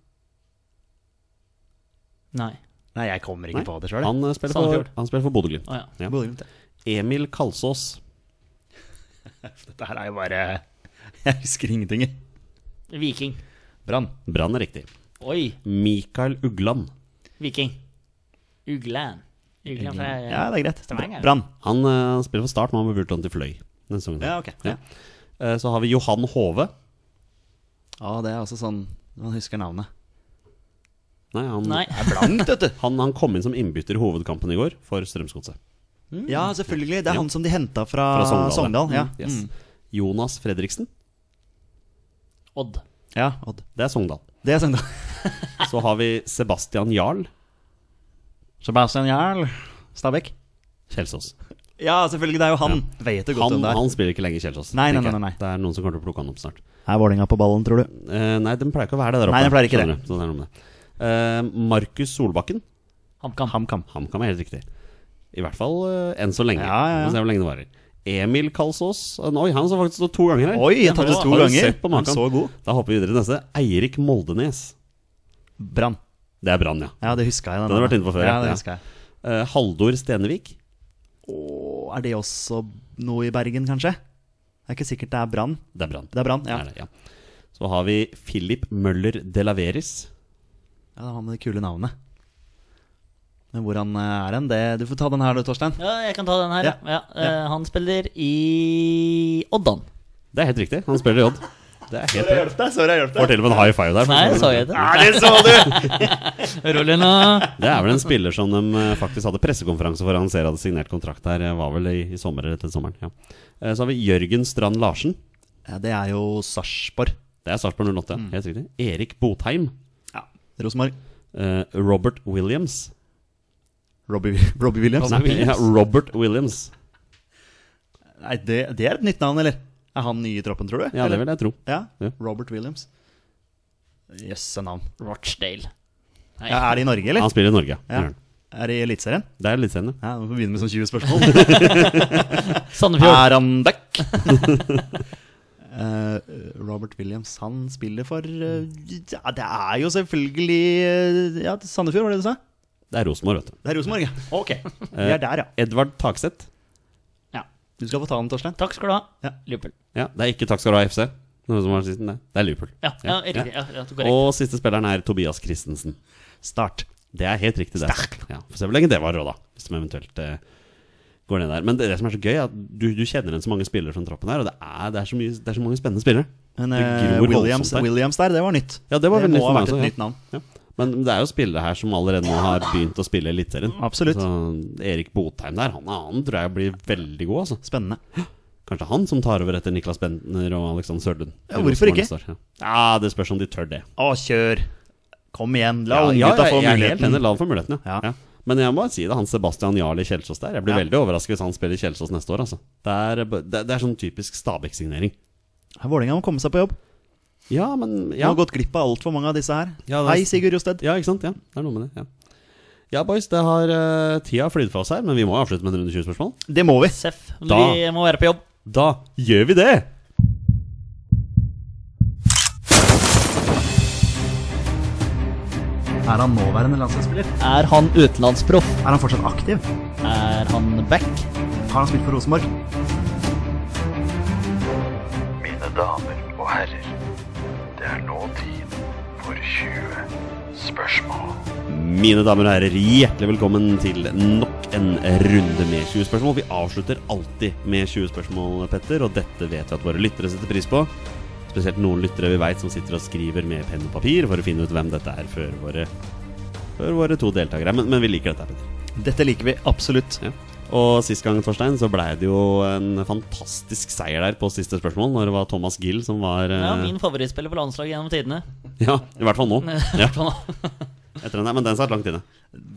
Speaker 3: Nei.
Speaker 2: Nei, jeg kommer ikke
Speaker 1: Nei,
Speaker 2: på det sjøl.
Speaker 1: Han eh, spiller
Speaker 3: Sandefjord.
Speaker 1: for, han spiller for Bodø-Glimt.
Speaker 3: Å ja.
Speaker 1: Ja.
Speaker 2: Dette
Speaker 1: Emil Kalsås.
Speaker 2: her er jo bare Jeg husker ingenting. jeg.
Speaker 3: Viking.
Speaker 2: Brann.
Speaker 1: Brann er riktig.
Speaker 3: Oi.
Speaker 1: Mikael Ugland.
Speaker 3: Viking. Uglan. Uglan fra
Speaker 2: Ja, det er greit.
Speaker 3: Stavanger.
Speaker 2: Brann.
Speaker 1: Han eh, spiller for Start, men han ble vurdert om til Fløy. Den sesongen.
Speaker 2: Ja, ok.
Speaker 1: Ja. Eh, så har vi Johan Hove.
Speaker 2: Ja, det er altså sånn Man husker navnet.
Speaker 1: Nei, han,
Speaker 3: Nei.
Speaker 2: Blankt, vet du.
Speaker 1: Han, han kom inn som innbytter i hovedkampen i går for Strømsgodset.
Speaker 2: Ja, selvfølgelig. Det er han som de henta fra,
Speaker 1: Fra Sogndal.
Speaker 2: Ah, Sogndal. Ja.
Speaker 1: Mm, yes. Jonas Fredriksen.
Speaker 3: Odd.
Speaker 2: ja, Odd.
Speaker 1: Det er Sogndal.
Speaker 2: Det er Sogndal.
Speaker 1: Så har vi Sebastian Jarl
Speaker 2: Sebastian Jarl. Stabæk.
Speaker 1: Kjelsås.
Speaker 2: Ja, selvfølgelig. Det er jo han. Vet jo godt
Speaker 1: Han,
Speaker 2: hvem det er.
Speaker 1: han spiller ikke lenger i Kjelsås.
Speaker 2: Nei, nei,
Speaker 1: tenker
Speaker 2: nei, nei,
Speaker 1: jeg. Det er noen som kommer til å plukke han opp snart.
Speaker 2: Er Vålinga på ballen, tror du?
Speaker 1: Eh, nei, den pleier ikke å være det der oppe.
Speaker 2: Nei, den pleier ikke
Speaker 1: skjønner du. Så det er noe med det. Eh, Markus Solbakken.
Speaker 3: HamKam.
Speaker 2: HamKam.
Speaker 1: HamKam er helt riktig. I hvert fall eh, enn så lenge.
Speaker 2: Ja, ja, ja.
Speaker 1: Vi får se hvor lenge det varer. Emil Kalsås. eh, Oi, han så faktisk stått to ganger her.
Speaker 2: Oi, jeg tatt det
Speaker 1: Har
Speaker 2: to
Speaker 1: du
Speaker 2: ganger.
Speaker 1: sett på
Speaker 2: Han
Speaker 1: maken?
Speaker 2: så god.
Speaker 1: Da hopper vi videre til neste. Eirik Moldenes.
Speaker 2: Brann.
Speaker 1: Det er Brann, ja.
Speaker 2: Ja, det huska jeg.
Speaker 1: Den har vært inne på før,
Speaker 2: Ja,
Speaker 1: ja.
Speaker 2: det husker jeg.
Speaker 1: Eh, Haldor Stenevik.
Speaker 2: Åh, er det også noe i Bergen, kanskje? Det er ikke sikkert det er brann.
Speaker 1: Det er Brann.
Speaker 2: Det er brann, ja.
Speaker 1: Er det, ja. Så har vi Philip Møller Delaveris.
Speaker 2: ja. Det er han med det kule navnet. Men hvor han eh, er hen, det Du får ta den her, du, Torstein.
Speaker 3: Ja, jeg kan ta den her. Ja. Ja.
Speaker 2: Ja.
Speaker 3: eh, Han spiller i Oddan.
Speaker 1: Det er helt riktig. Han spiller i Odd. Det er helt rett.
Speaker 2: deg, sorry, jeg hjelper
Speaker 1: Får til og med en high five der. for
Speaker 3: Nei,
Speaker 1: å si det
Speaker 3: sa
Speaker 1: sånn.
Speaker 3: jeg det?
Speaker 2: det så du!
Speaker 3: Rolig nå.
Speaker 1: Det er vel en spiller som de eh, faktisk hadde pressekonferanse for å annonsere hadde signert kontrakt her. eh, Var vel i, i sommer eller til sommeren. Ja. Eh, Så har vi Jørgen Strand Larsen.
Speaker 2: Ja, det er jo Sarpsborg.
Speaker 1: Det er Sarpsborg 08, ja. Helt riktig. Erik Botheim.
Speaker 2: Ja. Rosenborg.
Speaker 1: eh, Robert Williams.
Speaker 2: Robbie, Robbie Williams.
Speaker 1: Nei, ja, Robert Williams.
Speaker 2: Nei, det, det er et nytt navn, eller? Er han ny i troppen, tror du?
Speaker 1: Ja, det
Speaker 2: Eller?
Speaker 1: vil jeg tro.
Speaker 2: Ja.
Speaker 1: Ja.
Speaker 2: Robert Williams. Jøsse navn.
Speaker 3: Rochdale. Nei.
Speaker 2: Ja, er det i Norge, eller?
Speaker 1: Han spiller i Norge.
Speaker 2: Ja.
Speaker 1: Ja.
Speaker 2: Er det i Eliteserien?
Speaker 1: Det er litt senere.
Speaker 2: Ja, vi får begynne med sånn 20 spørsmål.
Speaker 3: Sandefjord.
Speaker 2: Er han back? eh, Robert Williams han spiller for eh, ja, Det er jo selvfølgelig eh, ja, Sandefjord, var det du sa?
Speaker 1: Det er Rosenborg, vet du.
Speaker 2: Det er Rosenborg, ja. Ok. Vi er der, ja.
Speaker 1: Edvard Tagseth.
Speaker 3: Ja.
Speaker 2: Du skal få ta den, Torstein.
Speaker 3: Takk skal du ha.
Speaker 2: Ja.
Speaker 3: Liverpool.
Speaker 1: Ja, det er ikke Takk skal du ha, FC. Noe som var sist, nei. Det er Liverpool.
Speaker 3: Ja, ja, riktig. Ja, ja, korrekt.
Speaker 1: Og siste spilleren er Tobias Christensen.
Speaker 2: Start.
Speaker 1: Det er helt riktig, det. Ja, Få se hvor lenge det varer òg, da. Hvis de eventuelt eh, går ned der. Men det, det som er så gøy, er at du, du kjenner igjen så mange spillere fra den troppen her, og det er, det er, så, mye, det er så mange spennende spillere.
Speaker 2: Men
Speaker 1: Det
Speaker 2: eh,
Speaker 1: gror
Speaker 2: Williams,
Speaker 1: voldsomt der.
Speaker 2: Williams der, det var nytt.
Speaker 1: Ja, det var
Speaker 2: må
Speaker 1: veldig nytt
Speaker 2: ha
Speaker 1: for meg
Speaker 2: vært et
Speaker 1: også, ja.
Speaker 2: nytt navn.
Speaker 1: Ja. Men det er jo spillere her som allerede nå har begynt å spille Eliteserien.
Speaker 2: Absolutt.
Speaker 1: Så Erik Botheim der, han, han tror jeg blir veldig god, altså.
Speaker 2: Spennende.
Speaker 1: Kanskje han som tar over etter Niklas Bentner og Alexander Sørlund.
Speaker 2: Ja, hvorfor ikke?
Speaker 1: Neste år, Ja. ja, Det spørs om de tør det.
Speaker 2: Å, kjør! Kom igjen, la
Speaker 1: Ja, ja,
Speaker 2: unggutta
Speaker 1: jeg-
Speaker 2: få
Speaker 1: jeg er helt enig.
Speaker 2: muligheten.
Speaker 1: La han få muligheten, ja.
Speaker 2: Ja.
Speaker 1: ja. Men jeg må si det, han Sebastian Jarl i Kjelsås der. Jeg blir
Speaker 2: Ja.
Speaker 1: veldig overrasket hvis han spiller i Kjelsås neste år. Altså. Det, er, b- det, det er sånn typisk Stabæk-signering.
Speaker 2: Vålerenga må komme seg på jobb.
Speaker 1: Ja, men
Speaker 2: Ja.
Speaker 1: ja.
Speaker 2: Har gått glipp av altfor mange av disse her.
Speaker 1: Ja, det er-
Speaker 2: Hei, Sigurd Josted.
Speaker 1: ja, ikke sant? Ja, det er noe med det. Ja, ja boys, det har eh, tida flydd fra oss her, men vi må avslutte med en runde 20-spørsmål.
Speaker 2: Det må vi.
Speaker 3: Seff.
Speaker 1: Da-
Speaker 3: Vi må være på jobb.
Speaker 1: Da gjør vi det!
Speaker 2: Er han nåværende landslagsspiller?
Speaker 3: Er han utenlandsproff?
Speaker 2: Er han fortsatt aktiv?
Speaker 3: Er han back?
Speaker 2: Har han spilt for Rosenborg?
Speaker 5: Mine damer og herrer, det er nå tid for 20 spørsmål.
Speaker 1: Mine damer og herrer, hjertelig velkommen til nok en runde med 20 spørsmål. Vi avslutter alltid med 20 spørsmål, Petter, og dette vet vi at våre lyttere setter pris på. Spesielt noen lyttere vi veit som sitter og skriver med penn og papir for å finne ut hvem dette er før våre, før våre to deltakere. Men, men vi liker dette, Petter.
Speaker 2: Dette liker vi absolutt.
Speaker 1: Ja. Og sist gang, Torstein, så blei det jo en fantastisk seier der på siste spørsmål, når det var Thomas Gill som var
Speaker 3: Ja,
Speaker 1: eh,
Speaker 3: min favorittspiller på landslaget gjennom tidene.
Speaker 1: ja, i hvert fall nå. Ja,
Speaker 3: Sånn,
Speaker 1: etter den der, men den satt langt inne.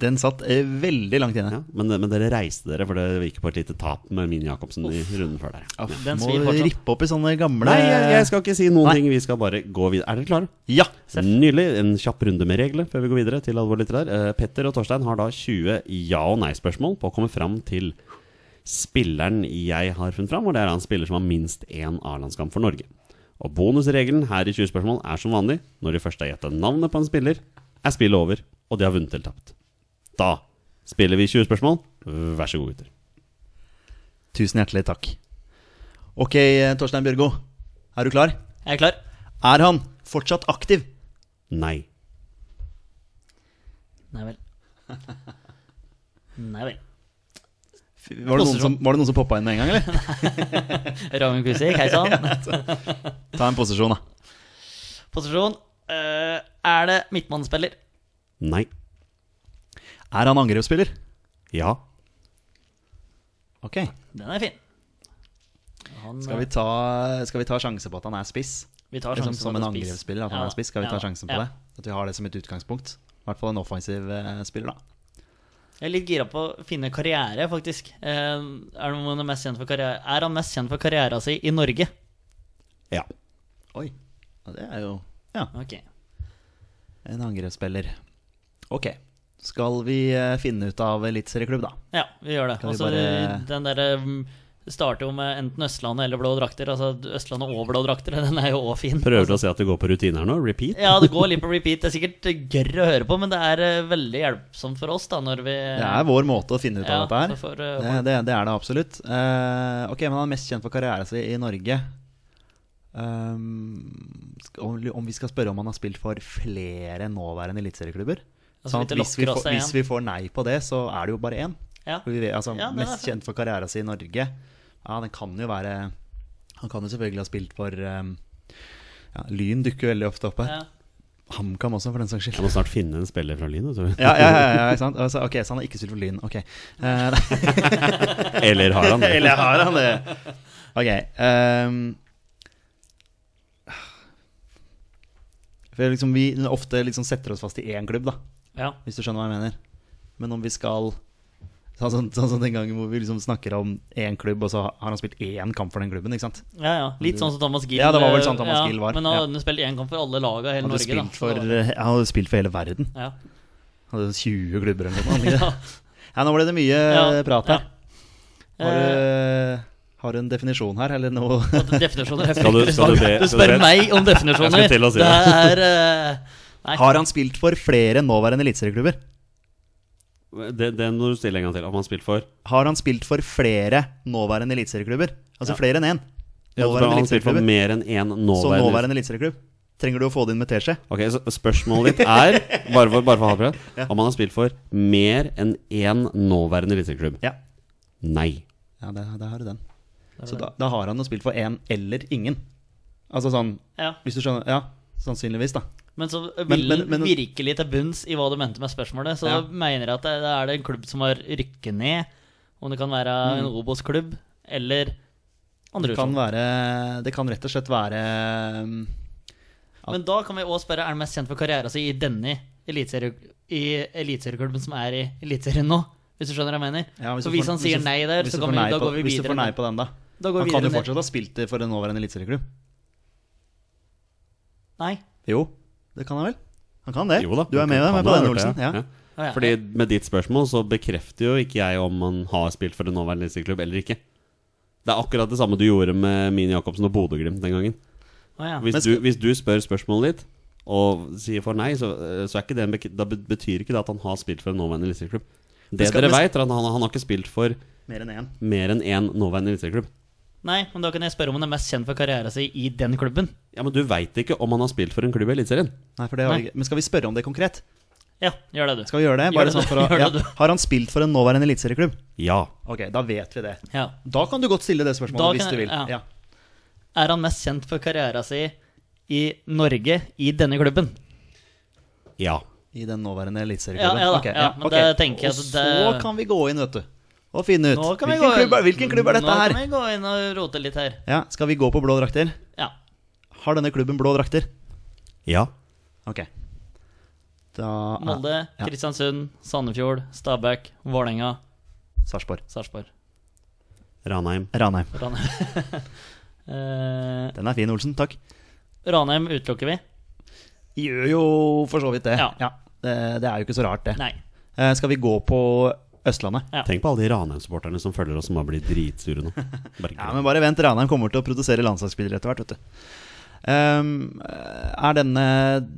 Speaker 2: Den satt eh, veldig langt inne.
Speaker 1: Ja, men, men dere reiste dere, for det gikk på et lite tap med Mini Jacobsen i runden før der. Ja.
Speaker 3: Den
Speaker 2: Må
Speaker 3: svir fortsatt.
Speaker 2: rippe opp i sånne gamle
Speaker 1: Nei, jeg, jeg skal ikke si
Speaker 2: eh,
Speaker 1: noen
Speaker 2: Nei.
Speaker 1: ting. Vi skal bare gå videre. Er dere klare?
Speaker 2: Ja!
Speaker 1: Nydelig. En kjapp runde med regler før vi går videre til alvorlig litterær. Eh, Petter og Torstein har da 20 ja- og nei-spørsmål på å komme fram til spilleren jeg har funnet fram, og det er da en spiller som har minst én A-landskamp for Norge. Og bonusregelen her i 20 spørsmål er som vanlig når de først har gjetta navnet på en spiller, er spillet over, og de har vunnet eller tapt. Da spiller vi 20 spørsmål. Vær så god, gutter.
Speaker 2: Tusen hjertelig takk. Ok, eh, Torstein Bjørgo. Er du klar?
Speaker 3: Jeg er klar.
Speaker 2: Er han fortsatt aktiv?
Speaker 1: Nei.
Speaker 3: Nei vel. Nei vel.
Speaker 2: Var det noen som, var det noen som poppa inn med en gang, eller?
Speaker 3: Ragnhild Kusik, hei sann.
Speaker 2: Ta en posisjon, da.
Speaker 3: Posisjon. Eh, er det midtmannsspiller?
Speaker 1: Nei.
Speaker 2: Er han angrepsspiller?
Speaker 1: Ja.
Speaker 2: Ok.
Speaker 3: Den er fin. Han, eh,
Speaker 2: Skal vi, ta, skal vi ta sjanse på at han er spiss?
Speaker 3: Vi tar
Speaker 2: Liksom
Speaker 3: sjansen
Speaker 2: Som
Speaker 3: på
Speaker 2: en
Speaker 3: at han er spiss.
Speaker 2: angrepsspiller, at han
Speaker 3: Ja,
Speaker 2: er spiss. Skal vi ta
Speaker 3: ja,
Speaker 2: sjansen på
Speaker 3: ja.
Speaker 2: det? At vi har det som et utgangspunkt? I hvert fall en offensiv eh, spiller, da.
Speaker 3: Jeg er litt gira på å finne karriere, faktisk. Eh, er, han noen mest kjent for karriere? er han mest kjent for karriera si i Norge?
Speaker 1: Ja.
Speaker 2: Oi. Ja, det er jo Ja.
Speaker 3: Ok.
Speaker 2: En angrepsspiller. Ok. Skal vi eh, finne ut av eliteserieklubb, da?
Speaker 3: Ja, vi gjør det.
Speaker 2: Kan vi
Speaker 3: Altså,
Speaker 2: bare-
Speaker 3: Den derre mm, starter jo med enten Østlandet eller blå drakter. Altså Østlandet og blå drakter, den er jo òg fin.
Speaker 1: Prøver du å se at det går på rutine her nå? Repeat?
Speaker 3: Ja, det går litt på repeat. Det er sikkert gørr å høre på, men det er eh, veldig hjelpsomt for oss da når vi
Speaker 2: Det er vår måte å finne ut av
Speaker 3: Ja,
Speaker 2: dette her.
Speaker 3: så får, eh,
Speaker 2: det, det, det er det absolutt. Eh, ok, men han er mest kjent for karrieren sin i Norge. Um, skal, om, om vi skal spørre om han har spilt for flere nåværende eliteserieklubber?
Speaker 3: Altså,
Speaker 2: Sånn
Speaker 3: vi
Speaker 2: at hvis vi,
Speaker 3: lokker oss
Speaker 2: får,
Speaker 3: til
Speaker 2: hvis vi får nei på det, så er det jo bare én.
Speaker 3: Ja.
Speaker 2: For vi vet- Altså,
Speaker 3: Ja, det er
Speaker 2: mest
Speaker 3: det.
Speaker 2: kjent for karrieren sin i Norge. Ja, den kan jo være Han kan jo selvfølgelig ha spilt for um, ja, Lyn dukker jo veldig ofte opp her.
Speaker 3: Ja.
Speaker 2: HamKam også, for den saks skyld.
Speaker 1: Jeg må snart finne en spiller fra Lyn. altså.
Speaker 2: Ja, ja, ja, ja, ikke sant? Altså, ok, så han har ikke spilt for Lyn. Ok. Eh, nei.
Speaker 1: Eller har han det?
Speaker 2: Eller har han det? Ok. ehm. for liksom vi ofte liksom setter oss fast i én klubb, da,
Speaker 3: ja.
Speaker 2: hvis du skjønner hva jeg mener. Men om vi skal Sånn som sånn, som den gangen hvor vi liksom snakker om én klubb, og så har han spilt én kamp for den klubben. ikke sant?
Speaker 3: Ja, ja. Litt sånn som Thomas Gill.
Speaker 2: Ja, det var vel sånn Thomas Gill var.
Speaker 3: Men han
Speaker 2: Ja.
Speaker 3: hadde spilt én kamp for alle laga i hele
Speaker 2: Han hadde
Speaker 3: Norge. da.
Speaker 2: spilt for,
Speaker 3: Så-
Speaker 2: eh, han hadde spilt for hele verden.
Speaker 3: ja.
Speaker 2: Han Hadde 20 klubber eller noe. sånt, han ikke det? eh,
Speaker 3: Ja.
Speaker 2: Ja, nå ble det mye
Speaker 3: Ja,
Speaker 2: eh, prat her. Har du, har en definisjon her, eller noe
Speaker 3: Og definisjoner er
Speaker 1: Skal du-
Speaker 3: fryktelig
Speaker 1: skal du be-
Speaker 3: spennende. Du
Speaker 1: skal du
Speaker 3: spør
Speaker 1: be-
Speaker 3: meg om definisjoner!
Speaker 1: Jeg skulle til å si det.
Speaker 3: er eh, Nei.
Speaker 2: Har han spilt for flere enn nåværende eliteserieklubber?
Speaker 1: Det, det må du stille en gang til. Om han har spilt for?
Speaker 2: Har han spilt for flere nåværende eliteserieklubber? Altså
Speaker 1: Ja.
Speaker 2: flere enn én?
Speaker 1: Ja, så har han spilt for
Speaker 2: eliteserieklubber.
Speaker 1: mer enn én
Speaker 2: Som
Speaker 1: nåværende
Speaker 2: nåværende eliteserieklubb. Trenger du å få det inn med teskje?
Speaker 1: Ok, så Spørsmålet ditt er, bare for, bare for å ha prøvd, om han har spilt for mer enn én nåværende eliteserieklubb?
Speaker 2: Ja.
Speaker 1: Nei.
Speaker 2: Ja, der, der har du den. Så da, da har han jo spilt for én eller ingen. Altså sånn
Speaker 3: Ja.
Speaker 2: Hvis du skjønner Ja, sannsynligvis, da.
Speaker 3: Men så vil
Speaker 2: Men- men-
Speaker 3: den
Speaker 2: men-
Speaker 3: virkelig til bunns i hva du mente med spørsmålet. Så
Speaker 2: Ja.
Speaker 3: da mener jeg at det, da er det en klubb som har rykket ned. Om det kan være en Obos-klubb eller andre
Speaker 2: Mm. Det kan
Speaker 3: utland.
Speaker 2: være Det kan rett og slett være mm,
Speaker 3: Men da kan vi også spørre er han mest kjent for karrieren sin i denne eliteserie- i eliteserieklubben som er i eliteserien nå. Hvis du skjønner hva jeg mener?
Speaker 2: ja,
Speaker 3: så
Speaker 2: du
Speaker 3: hvis
Speaker 2: får-
Speaker 3: han sier
Speaker 2: du-
Speaker 3: nei der,
Speaker 2: hvis du
Speaker 3: så kan
Speaker 2: får
Speaker 3: vi,
Speaker 2: nei
Speaker 3: da
Speaker 2: på-
Speaker 3: går vi
Speaker 2: Hvis du
Speaker 3: videre.
Speaker 2: får nei
Speaker 3: ned.
Speaker 2: på den, da.
Speaker 3: Da går
Speaker 2: Han
Speaker 3: vi
Speaker 2: kan jo
Speaker 3: videre ned.
Speaker 2: fortsatt ha spilt for en nåværende eliteserieklubb.
Speaker 3: Nei.
Speaker 2: Jo, det kan han vel? Han kan det.
Speaker 1: Jo da.
Speaker 2: du er med,
Speaker 1: han
Speaker 2: med
Speaker 1: har
Speaker 2: på den,
Speaker 1: gjort det,
Speaker 2: Olsen. Ja.
Speaker 3: Å, ja.
Speaker 1: Fordi med ditt spørsmål så bekrefter jo ikke jeg om han har spilt for en nåværende eliteserieklubb eller ikke. Det er akkurat det samme du gjorde med Mini Jacobsen og Bodø-Glimt den gangen.
Speaker 3: Å, ja.
Speaker 1: Hvis
Speaker 2: Men
Speaker 1: du,
Speaker 2: skal-
Speaker 1: hvis du spør spørsmålet ditt og sier for nei, så, eh, så er ikke det en bek da be- betyr ikke det at han har spilt for en nåværende eliteserieklubb. Det
Speaker 2: skal-
Speaker 1: dere
Speaker 2: men-
Speaker 1: veit, er at han, han har ikke spilt for
Speaker 2: Mer enn én.
Speaker 1: mer enn én nåværende eliteserieklubb.
Speaker 3: Nei, men da kan jeg spørre om han er mest kjent for karrieren sin i den klubben.
Speaker 1: Ja, men du veit ikke om han har spilt for en klubb i Eliteserien.
Speaker 2: Nei, for det har vi
Speaker 3: Nei.
Speaker 2: ikke. Men skal vi spørre om det konkret?
Speaker 3: Ja, gjør det, du.
Speaker 2: Skal vi gjøre det?
Speaker 3: Gjør
Speaker 2: Bare
Speaker 3: det,
Speaker 2: sånn for å,
Speaker 3: gjør
Speaker 2: ja.
Speaker 3: det, du.
Speaker 2: Har han spilt for en nåværende eliteserieklubb?
Speaker 1: Ja.
Speaker 2: Ok, da vet vi det.
Speaker 3: Ja.
Speaker 2: Da kan du godt stille det
Speaker 3: Da
Speaker 2: spørsmålet hvis
Speaker 3: kan
Speaker 2: du vil.
Speaker 3: jeg- ja.
Speaker 2: Ja.
Speaker 3: Er han mest kjent for karrieren sin i Norge, i denne klubben?
Speaker 1: Ja.
Speaker 2: I den nåværende
Speaker 3: Ja,
Speaker 2: eliteserieklubben.
Speaker 3: ja da,
Speaker 2: Ok,
Speaker 3: ja, men
Speaker 2: ok.
Speaker 3: det tenker
Speaker 2: Og
Speaker 3: jeg at
Speaker 2: så
Speaker 3: det-
Speaker 2: kan vi gå inn, vet du. Og finne ut.
Speaker 3: Nå kan vi
Speaker 2: hvilken,
Speaker 3: gå
Speaker 2: klubb er, hvilken klubb er dette
Speaker 3: Nå kan
Speaker 2: her?
Speaker 3: vi gå inn og rote litt her.
Speaker 2: Ja, Skal vi gå på blå drakter?
Speaker 3: Ja.
Speaker 2: Har denne klubben blå drakter?
Speaker 1: Ja.
Speaker 2: Ok. Da er-
Speaker 3: Molde,
Speaker 2: Ah, Ja.
Speaker 3: Kristiansund, Sandefjord, Stabæk, Vålerenga,
Speaker 2: Sarpsborg.
Speaker 3: Sarpsborg.
Speaker 1: Ranheim.
Speaker 2: Ranheim.
Speaker 3: Ranheim. Eh,
Speaker 2: Den er fin, Olsen. Takk.
Speaker 3: Ranheim utelukker vi?
Speaker 2: Gjør jo for så vidt det.
Speaker 3: Ja.
Speaker 2: Det, det er jo ikke så rart, det.
Speaker 3: Nei.
Speaker 2: Eh, skal vi gå på Østlandet?
Speaker 3: Ja.
Speaker 1: Tenk på alle de Ranheim-supporterne som følger oss, som har blitt dritsure nå. Bare
Speaker 2: Ja, men bare vent. Ranheim kommer til å produsere landslagsspillere etter hvert, vet du. Ehm, er denne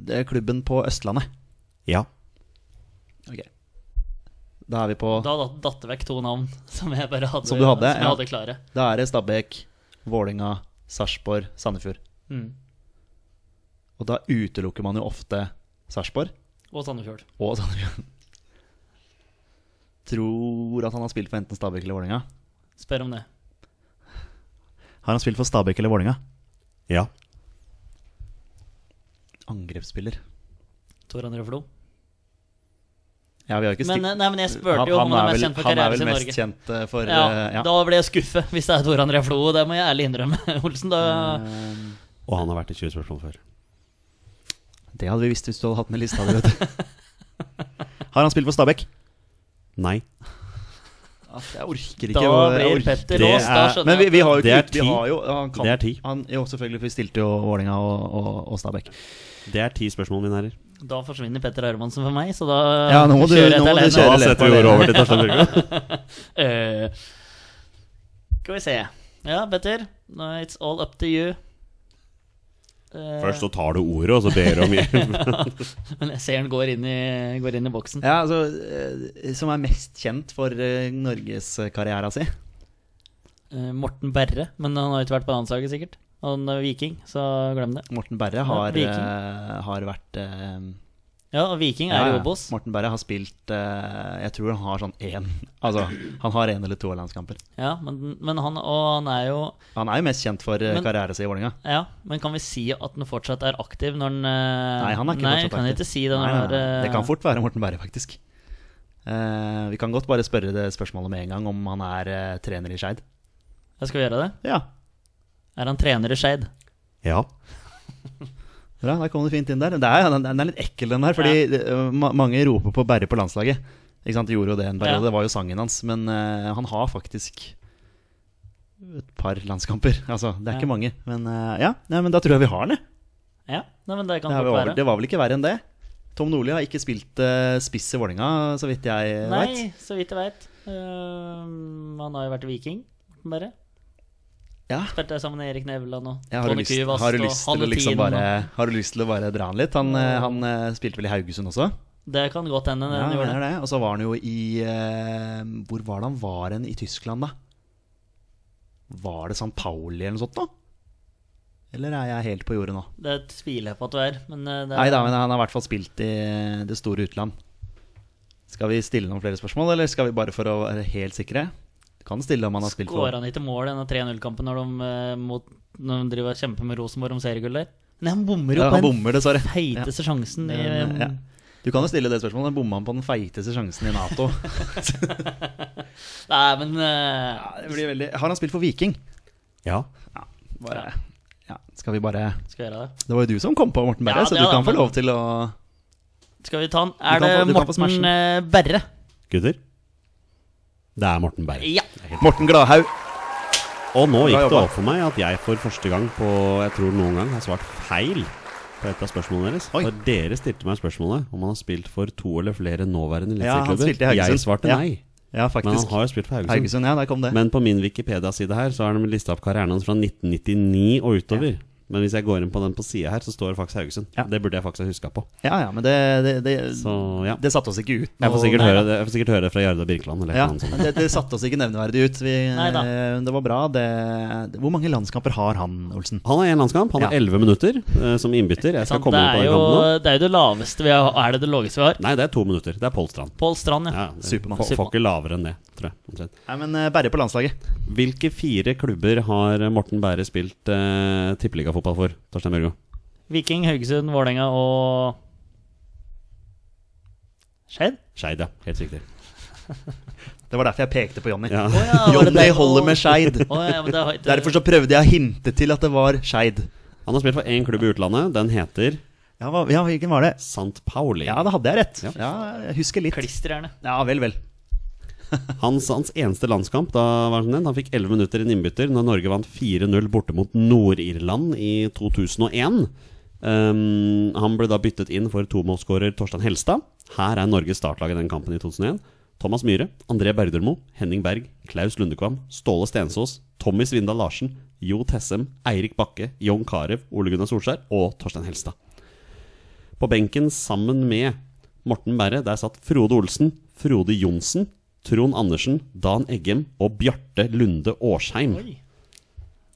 Speaker 2: eh, klubben på Østlandet?
Speaker 1: Ja.
Speaker 2: Ok. Da er vi på
Speaker 3: Da datt- datt det vekk to navn som jeg bare hadde,
Speaker 2: Som du hadde,
Speaker 3: som jeg
Speaker 2: ja.
Speaker 3: hadde klare.
Speaker 2: Da er det Stabæk, Vålinga, Sarpsborg, Sandefjord.
Speaker 3: Mm.
Speaker 2: Og da utelukker man jo ofte Sarpsborg
Speaker 3: Og Sandefjord.
Speaker 2: og Sandefjord. Tror at han har spilt for enten Stabæk eller Vålinga.
Speaker 3: Spør om det.
Speaker 2: Har han spilt for Stabæk eller Vålinga?
Speaker 1: Ja.
Speaker 2: Angrepsspiller.
Speaker 3: Tor André Flo.
Speaker 2: Ja, vi har ikke
Speaker 3: Men,
Speaker 2: stikk-
Speaker 3: eh, nei, men jeg spurte jo om han er mest kjent for
Speaker 2: han er
Speaker 3: karrieren
Speaker 2: vel
Speaker 3: sin i
Speaker 2: mest
Speaker 3: Norge.
Speaker 2: kjent eh, for
Speaker 3: Ja,
Speaker 2: eh, ja.
Speaker 3: Da ble jeg skuffet, hvis det er Tor André Flo. Det må jeg ærlig innrømme, Olsen. Da,
Speaker 2: Ehm,
Speaker 1: Og han har vært i 20 spørsmål før.
Speaker 2: Det hadde vi visst hvis du hadde hatt med lista di, vet du. Har han spilt for Stabæk?
Speaker 1: Nei.
Speaker 2: Jeg orker Eh,
Speaker 3: da blir Petter
Speaker 1: det
Speaker 3: låst. Da
Speaker 1: er-
Speaker 3: skjønner
Speaker 2: Men vi,
Speaker 3: jeg.
Speaker 2: vi har jo
Speaker 1: Det
Speaker 2: ikke
Speaker 1: er
Speaker 2: vi
Speaker 1: ti.
Speaker 2: har jo, han kan,
Speaker 1: Det er ti.
Speaker 2: Han, jo, selvfølgelig, for vi stilte jo Vålinga og, og, og Stabæk.
Speaker 1: Det er ti spørsmål, mine herrer.
Speaker 3: Da forsvinner Petter Hermansen for meg, så da
Speaker 2: Ja, nå må du-
Speaker 3: kjører jeg
Speaker 2: nå må
Speaker 3: til
Speaker 2: du
Speaker 3: Helene.
Speaker 2: kjøre
Speaker 1: Da
Speaker 2: lett
Speaker 1: setter
Speaker 2: på
Speaker 1: vi
Speaker 2: det.
Speaker 1: ordet over til Torstein Børge.
Speaker 3: Eh, Skal vi se. Ja, Petter. Nå er It's all up to you. Eh,
Speaker 1: Først så tar du ordet, og så ber du om hjelp.
Speaker 3: Men jeg ser han går inn i, går inn i boksen.
Speaker 2: Ja, altså, eh, Som er mest kjent for eh, norgeskarriera si.
Speaker 3: Eh, Morten Berre, men han har jo ikke vært på landslaget, sikkert. Han er viking, så glem det.
Speaker 2: Morten Berre har,
Speaker 3: Viking.
Speaker 2: eh, har vært eh,
Speaker 3: Ja, og viking
Speaker 2: ja,
Speaker 3: er i
Speaker 2: ja.
Speaker 3: Obos.
Speaker 2: Morten Berre har spilt eh, Jeg tror han har sånn én Altså, han har én eller to landskamper.
Speaker 3: Ja, men, men han, og han er jo
Speaker 2: Han er jo mest kjent for eh,
Speaker 3: Men-
Speaker 2: karriera si i Vålinga.
Speaker 3: Ja, men kan vi si at han fortsatt er aktiv når han eh,
Speaker 2: Nei, han er ikke fortsatt
Speaker 3: kan
Speaker 2: aktiv.
Speaker 3: jeg ikke si det når
Speaker 2: Nei, nei,
Speaker 3: han er,
Speaker 2: nei.
Speaker 3: eh,
Speaker 2: Det kan fort være Morten Berre, faktisk. Eh, vi kan godt bare spørre det spørsmålet med en gang, om han er eh, trener i Skeid.
Speaker 3: Ja, Skal vi gjøre det?
Speaker 2: Ja,
Speaker 3: Er han trener i Skeid?
Speaker 1: Ja.
Speaker 2: bra, der kom du fint inn der. Det er, den, den er litt ekkel, den der, fordi eh, ma mange roper på Berre på landslaget. Ikke sant, Gjorde jo det en
Speaker 3: Ja.
Speaker 2: periode, det var jo sangen hans. Men eh, han har faktisk et par landskamper. Altså, det er
Speaker 3: Ja.
Speaker 2: ikke mange. Men eh, ja, nei, men da tror jeg vi har den, jeg.
Speaker 3: Ja, nei, men det kan
Speaker 2: Det, er
Speaker 3: fort
Speaker 2: vel-
Speaker 3: være.
Speaker 2: det var vel ikke verre enn det? Tom Nordli har ikke spilt eh, spiss i Vålinga, så vidt jeg
Speaker 3: Nei,
Speaker 2: veit.
Speaker 3: eh, så vidt jeg veit. han har jo vært viking, bare.
Speaker 2: Ja.
Speaker 3: Spilte sammen med Erik Nevland og
Speaker 2: Ja, har, du
Speaker 3: Tony
Speaker 2: lyst,
Speaker 3: Kyvast
Speaker 2: har, du
Speaker 3: og
Speaker 2: lyst til å
Speaker 3: Hanne
Speaker 2: liksom
Speaker 3: Thien
Speaker 2: bare,
Speaker 3: og-
Speaker 2: har du lyst til å bare dra han litt? Han, eh, han eh, spilte vel i Haugesund også?
Speaker 3: Det kan godt hende.
Speaker 2: Ja,
Speaker 3: den
Speaker 2: jeg
Speaker 3: gjorde
Speaker 2: mener
Speaker 3: det.
Speaker 2: det. Og så var han jo i eh, Hvor var det han var hen i Tyskland, da? Var det San Pauli eller noe sånt nå? Eller er jeg helt på jordet nå?
Speaker 3: det tviler jeg på at du er. Men eh, det,
Speaker 2: Nei da, men han har i hvert fall spilt i eh, det store utland. Skal vi stille noen flere spørsmål, eller skal vi bare for å være helt sikre? Du kan stille om han har spilt
Speaker 3: går
Speaker 2: for
Speaker 3: han ikke mål i denne 3-0-kampen når, de, eh, mot- når de driver og kjemper med Rosenborg om seriegull der? Nei, han bommer jo
Speaker 2: ja,
Speaker 3: på
Speaker 2: Han
Speaker 3: den
Speaker 2: bommer, dessverre. Ja.
Speaker 3: feiteste sjansen eh, i
Speaker 2: Men, ja. Du kan jo stille det spørsmålet. Bomma han på den feiteste sjansen i Nato?
Speaker 3: Nei, men eh,
Speaker 2: Det blir veldig... Har han spilt for Viking?
Speaker 1: Ja.
Speaker 2: Bare... Ja, skal vi bare
Speaker 3: skal vi gjøre det.
Speaker 2: Det var jo du som kom på Morten Berre,
Speaker 3: Ja,
Speaker 2: så du
Speaker 3: det er
Speaker 2: kan
Speaker 3: det,
Speaker 2: få
Speaker 3: men-
Speaker 2: lov til å
Speaker 3: Skal vi ta den?
Speaker 2: kan
Speaker 3: Er det
Speaker 2: få- du kan få smashen.
Speaker 3: Morten eh, Berre?
Speaker 1: Gutter, det er Morten Berg.
Speaker 3: Ja.
Speaker 2: Morten Gladhaug.
Speaker 1: Og nå
Speaker 2: Bra
Speaker 1: gikk det
Speaker 2: jobba.
Speaker 1: opp for meg at jeg for første gang på jeg tror noen gang har svart feil på et av spørsmålene deres.
Speaker 2: Oi.
Speaker 1: For dere stilte meg spørsmålet om han har spilt for to eller flere nåværende
Speaker 2: Ja, han
Speaker 1: eliteserieklubber.
Speaker 2: spilte i Haugesund.
Speaker 1: jeg svarte
Speaker 2: Ja,
Speaker 1: nei,
Speaker 2: Ja,
Speaker 1: men han
Speaker 2: faktisk.
Speaker 1: har jo spilt for Haugesund.
Speaker 2: Haugesund, ja, der kom det.
Speaker 1: Men på min Wikipedia-side her så har de lista opp karrieren hans fra 1999 og utover. Men hvis jeg går inn på den på sida her, så står det faktisk Haugesund.
Speaker 2: Ja.
Speaker 1: Det burde jeg faktisk ha huska på.
Speaker 2: Ja, ja, men det, det, det,
Speaker 1: Så ja.
Speaker 2: det satte oss ikke ut.
Speaker 1: Jeg får
Speaker 2: nå.
Speaker 1: sikkert
Speaker 2: Nei,
Speaker 1: høre
Speaker 2: da.
Speaker 1: det, jeg får sikkert høre det fra Jarle Birkeland eller et
Speaker 2: Ja,
Speaker 1: eller annet sånt.
Speaker 2: det, det satte oss ikke nevneverdig ut. Vi,
Speaker 3: Neida.
Speaker 2: det var bra. Det, hvor mange landskamper har han, Olsen?
Speaker 1: Han har én landskamp, han har
Speaker 2: Ja.
Speaker 1: elleve minutter eh, som innbytter. Jeg skal
Speaker 3: Sant,
Speaker 1: komme
Speaker 3: det,
Speaker 1: inn på
Speaker 3: er
Speaker 1: den
Speaker 3: jo,
Speaker 1: kampen nå.
Speaker 3: det er jo det laveste vi har. Er det det laveste vi har?
Speaker 1: Nei, det er to minutter. Det er Pål Strand.
Speaker 3: Pål Strand, ja.
Speaker 1: Ja, det-
Speaker 2: Supermann.
Speaker 1: Får, får ikke lavere enn det, tror jeg. omtrent.
Speaker 2: Nei, men eh, Berre på landslaget.
Speaker 1: Hvilke fire klubber har Morten Bære spilt eh, tippeligafotball for? Torstein Børgo.
Speaker 3: Viking, Haugesund, Vålerenga og Skeid?
Speaker 1: Skeid, ja. Helt riktig.
Speaker 2: Det var derfor jeg pekte på Jonny.
Speaker 1: Ja.
Speaker 2: Jonny holder med Skeid.
Speaker 3: ja, men det har ikke-
Speaker 2: Derfor så prøvde jeg å hinte til at det var Skeid.
Speaker 1: Han har spilt for én klubb i utlandet. Den heter
Speaker 2: Ja, hva- ja, hvilken var det?
Speaker 1: Sant Pauli.
Speaker 2: Ja, da hadde jeg rett.
Speaker 1: Ja.
Speaker 2: Ja, jeg husker litt.
Speaker 3: Klisterhjerne.
Speaker 2: Ja, vel, vel.
Speaker 1: Hans, hans eneste landskamp da var han den. Han fikk 11 minutter i en innbytter når Norge vant 4-0 borte mot Nord-Irland i 2001. Um, han ble da byttet inn for tomålsskårer Torstein Helstad. Her er Norges startlag i den kampen i 2001. Thomas Myhre, André Bergdølmo, Henning Berg, Klaus Lundekvam, Ståle Stensås, Tommy Svindal Larsen, Jo Tessem, Eirik Bakke, Jon Carew, Ole Gunnar Solskjær og Torstein Helstad. På benken sammen med Morten Berre, der satt Frode Olsen, Frode Johnsen, Trond Andersen, Dan Eggem og Bjarte Lunde Årsheim.
Speaker 3: Oi.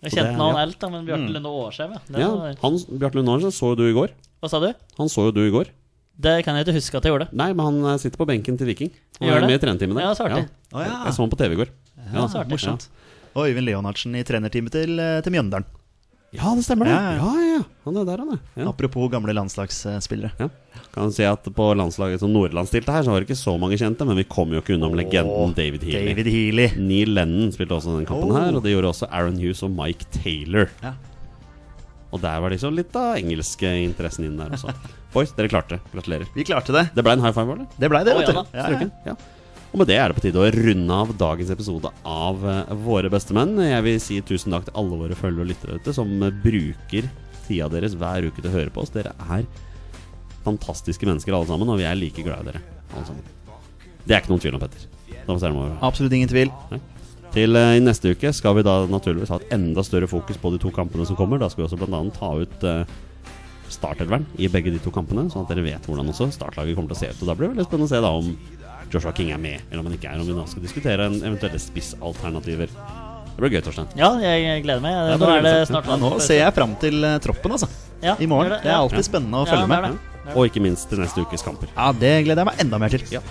Speaker 3: Jeg kjente
Speaker 1: det-
Speaker 3: navn
Speaker 1: ja.
Speaker 3: alt, da, men Bjarte Lunde Årsheim, ja. Det
Speaker 1: Ja,
Speaker 3: var-
Speaker 1: han, Bjarte Lunde Andersen så jo du i går.
Speaker 3: Hva sa du?
Speaker 1: Han så jo du i går.
Speaker 3: Det kan jeg ikke huske at jeg gjorde.
Speaker 1: Nei, men han eh, sitter på benken til Viking. Han
Speaker 3: Gjør
Speaker 1: er
Speaker 3: det?
Speaker 1: med i trenerteamet der.
Speaker 3: Ja, så artig.
Speaker 2: Å, ja.
Speaker 1: Jeg så han på TV i går. Ja,
Speaker 3: så artig.
Speaker 2: Morsomt. Og Øyvind Leonardsen i trenerteamet til, eh, til Mjøndalen.
Speaker 1: Ja, det stemmer det.
Speaker 2: Ja, ja.
Speaker 1: Ja, ja, ja. Han er der, han er. Ja.
Speaker 2: Apropos gamle landslagsspillere.
Speaker 1: Ja. Kan si at På landslaget som Nordland stilte her, så var det ikke så mange kjente, men vi kom jo ikke unna med legenden David Healy.
Speaker 2: David Healy.
Speaker 1: Neil Lennon spilte også den kampen
Speaker 2: Oh.
Speaker 1: her, og det gjorde også Aaron Hughes og Mike Taylor.
Speaker 2: Ja.
Speaker 1: Og der var liksom litt av engelske interessen inn der også. Boys, dere klarte. Gratulerer.
Speaker 2: Vi klarte det.
Speaker 1: Det ble en high five, var det?
Speaker 2: Det blei det,
Speaker 3: Å,
Speaker 2: vet
Speaker 3: ja
Speaker 2: du. Ja, ja.
Speaker 1: Strøken? Ja. Og med det er det på tide å runde av dagens episode av eh, Våre bestemenn. Jeg vil si tusen takk til alle våre følgere og lyttere ute som eh, bruker tida deres hver uke til å høre på oss. Dere er fantastiske mennesker alle sammen, og vi er like glad i dere alle sammen. Det er ikke noen tvil om, Petter. Da må vi se om over.
Speaker 2: Absolutt ingen tvil.
Speaker 1: Til eh, i neste uke skal vi da naturligvis ha et enda større fokus på de to kampene som kommer. Da skal vi også bl.a. ta ut uh, startelveren i begge de to kampene, sånn at dere vet hvordan også startlaget kommer til å se ut. Og Da blir det veldig spennende å se da om Joshua King er med, eller om han ikke er, om vi nå skal diskutere en eventuelle spissalternativer. Det blir gøy, Torstein.
Speaker 3: Ja, jeg gleder meg.
Speaker 1: det
Speaker 3: Nå
Speaker 1: var
Speaker 3: er det
Speaker 1: veldig
Speaker 3: snart
Speaker 2: Ja, nå ser jeg fram til eh, troppen, altså.
Speaker 3: Ja,
Speaker 2: I morgen.
Speaker 3: gjør det,
Speaker 2: Det er
Speaker 3: ja.
Speaker 1: Ja.
Speaker 2: alltid spennende å
Speaker 3: Ja,
Speaker 2: følge
Speaker 3: det er
Speaker 2: med.
Speaker 3: det.
Speaker 1: Og ikke minst til neste ukes kamper.
Speaker 2: Ja, det gleder jeg meg enda mer til.
Speaker 1: Ja.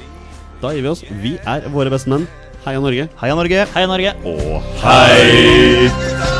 Speaker 1: Da gir vi oss. Vi er våre bestemenn. Heia Norge.
Speaker 2: Heia Norge.
Speaker 3: Hei, Norge.
Speaker 1: Og hei!
Speaker 5: Dette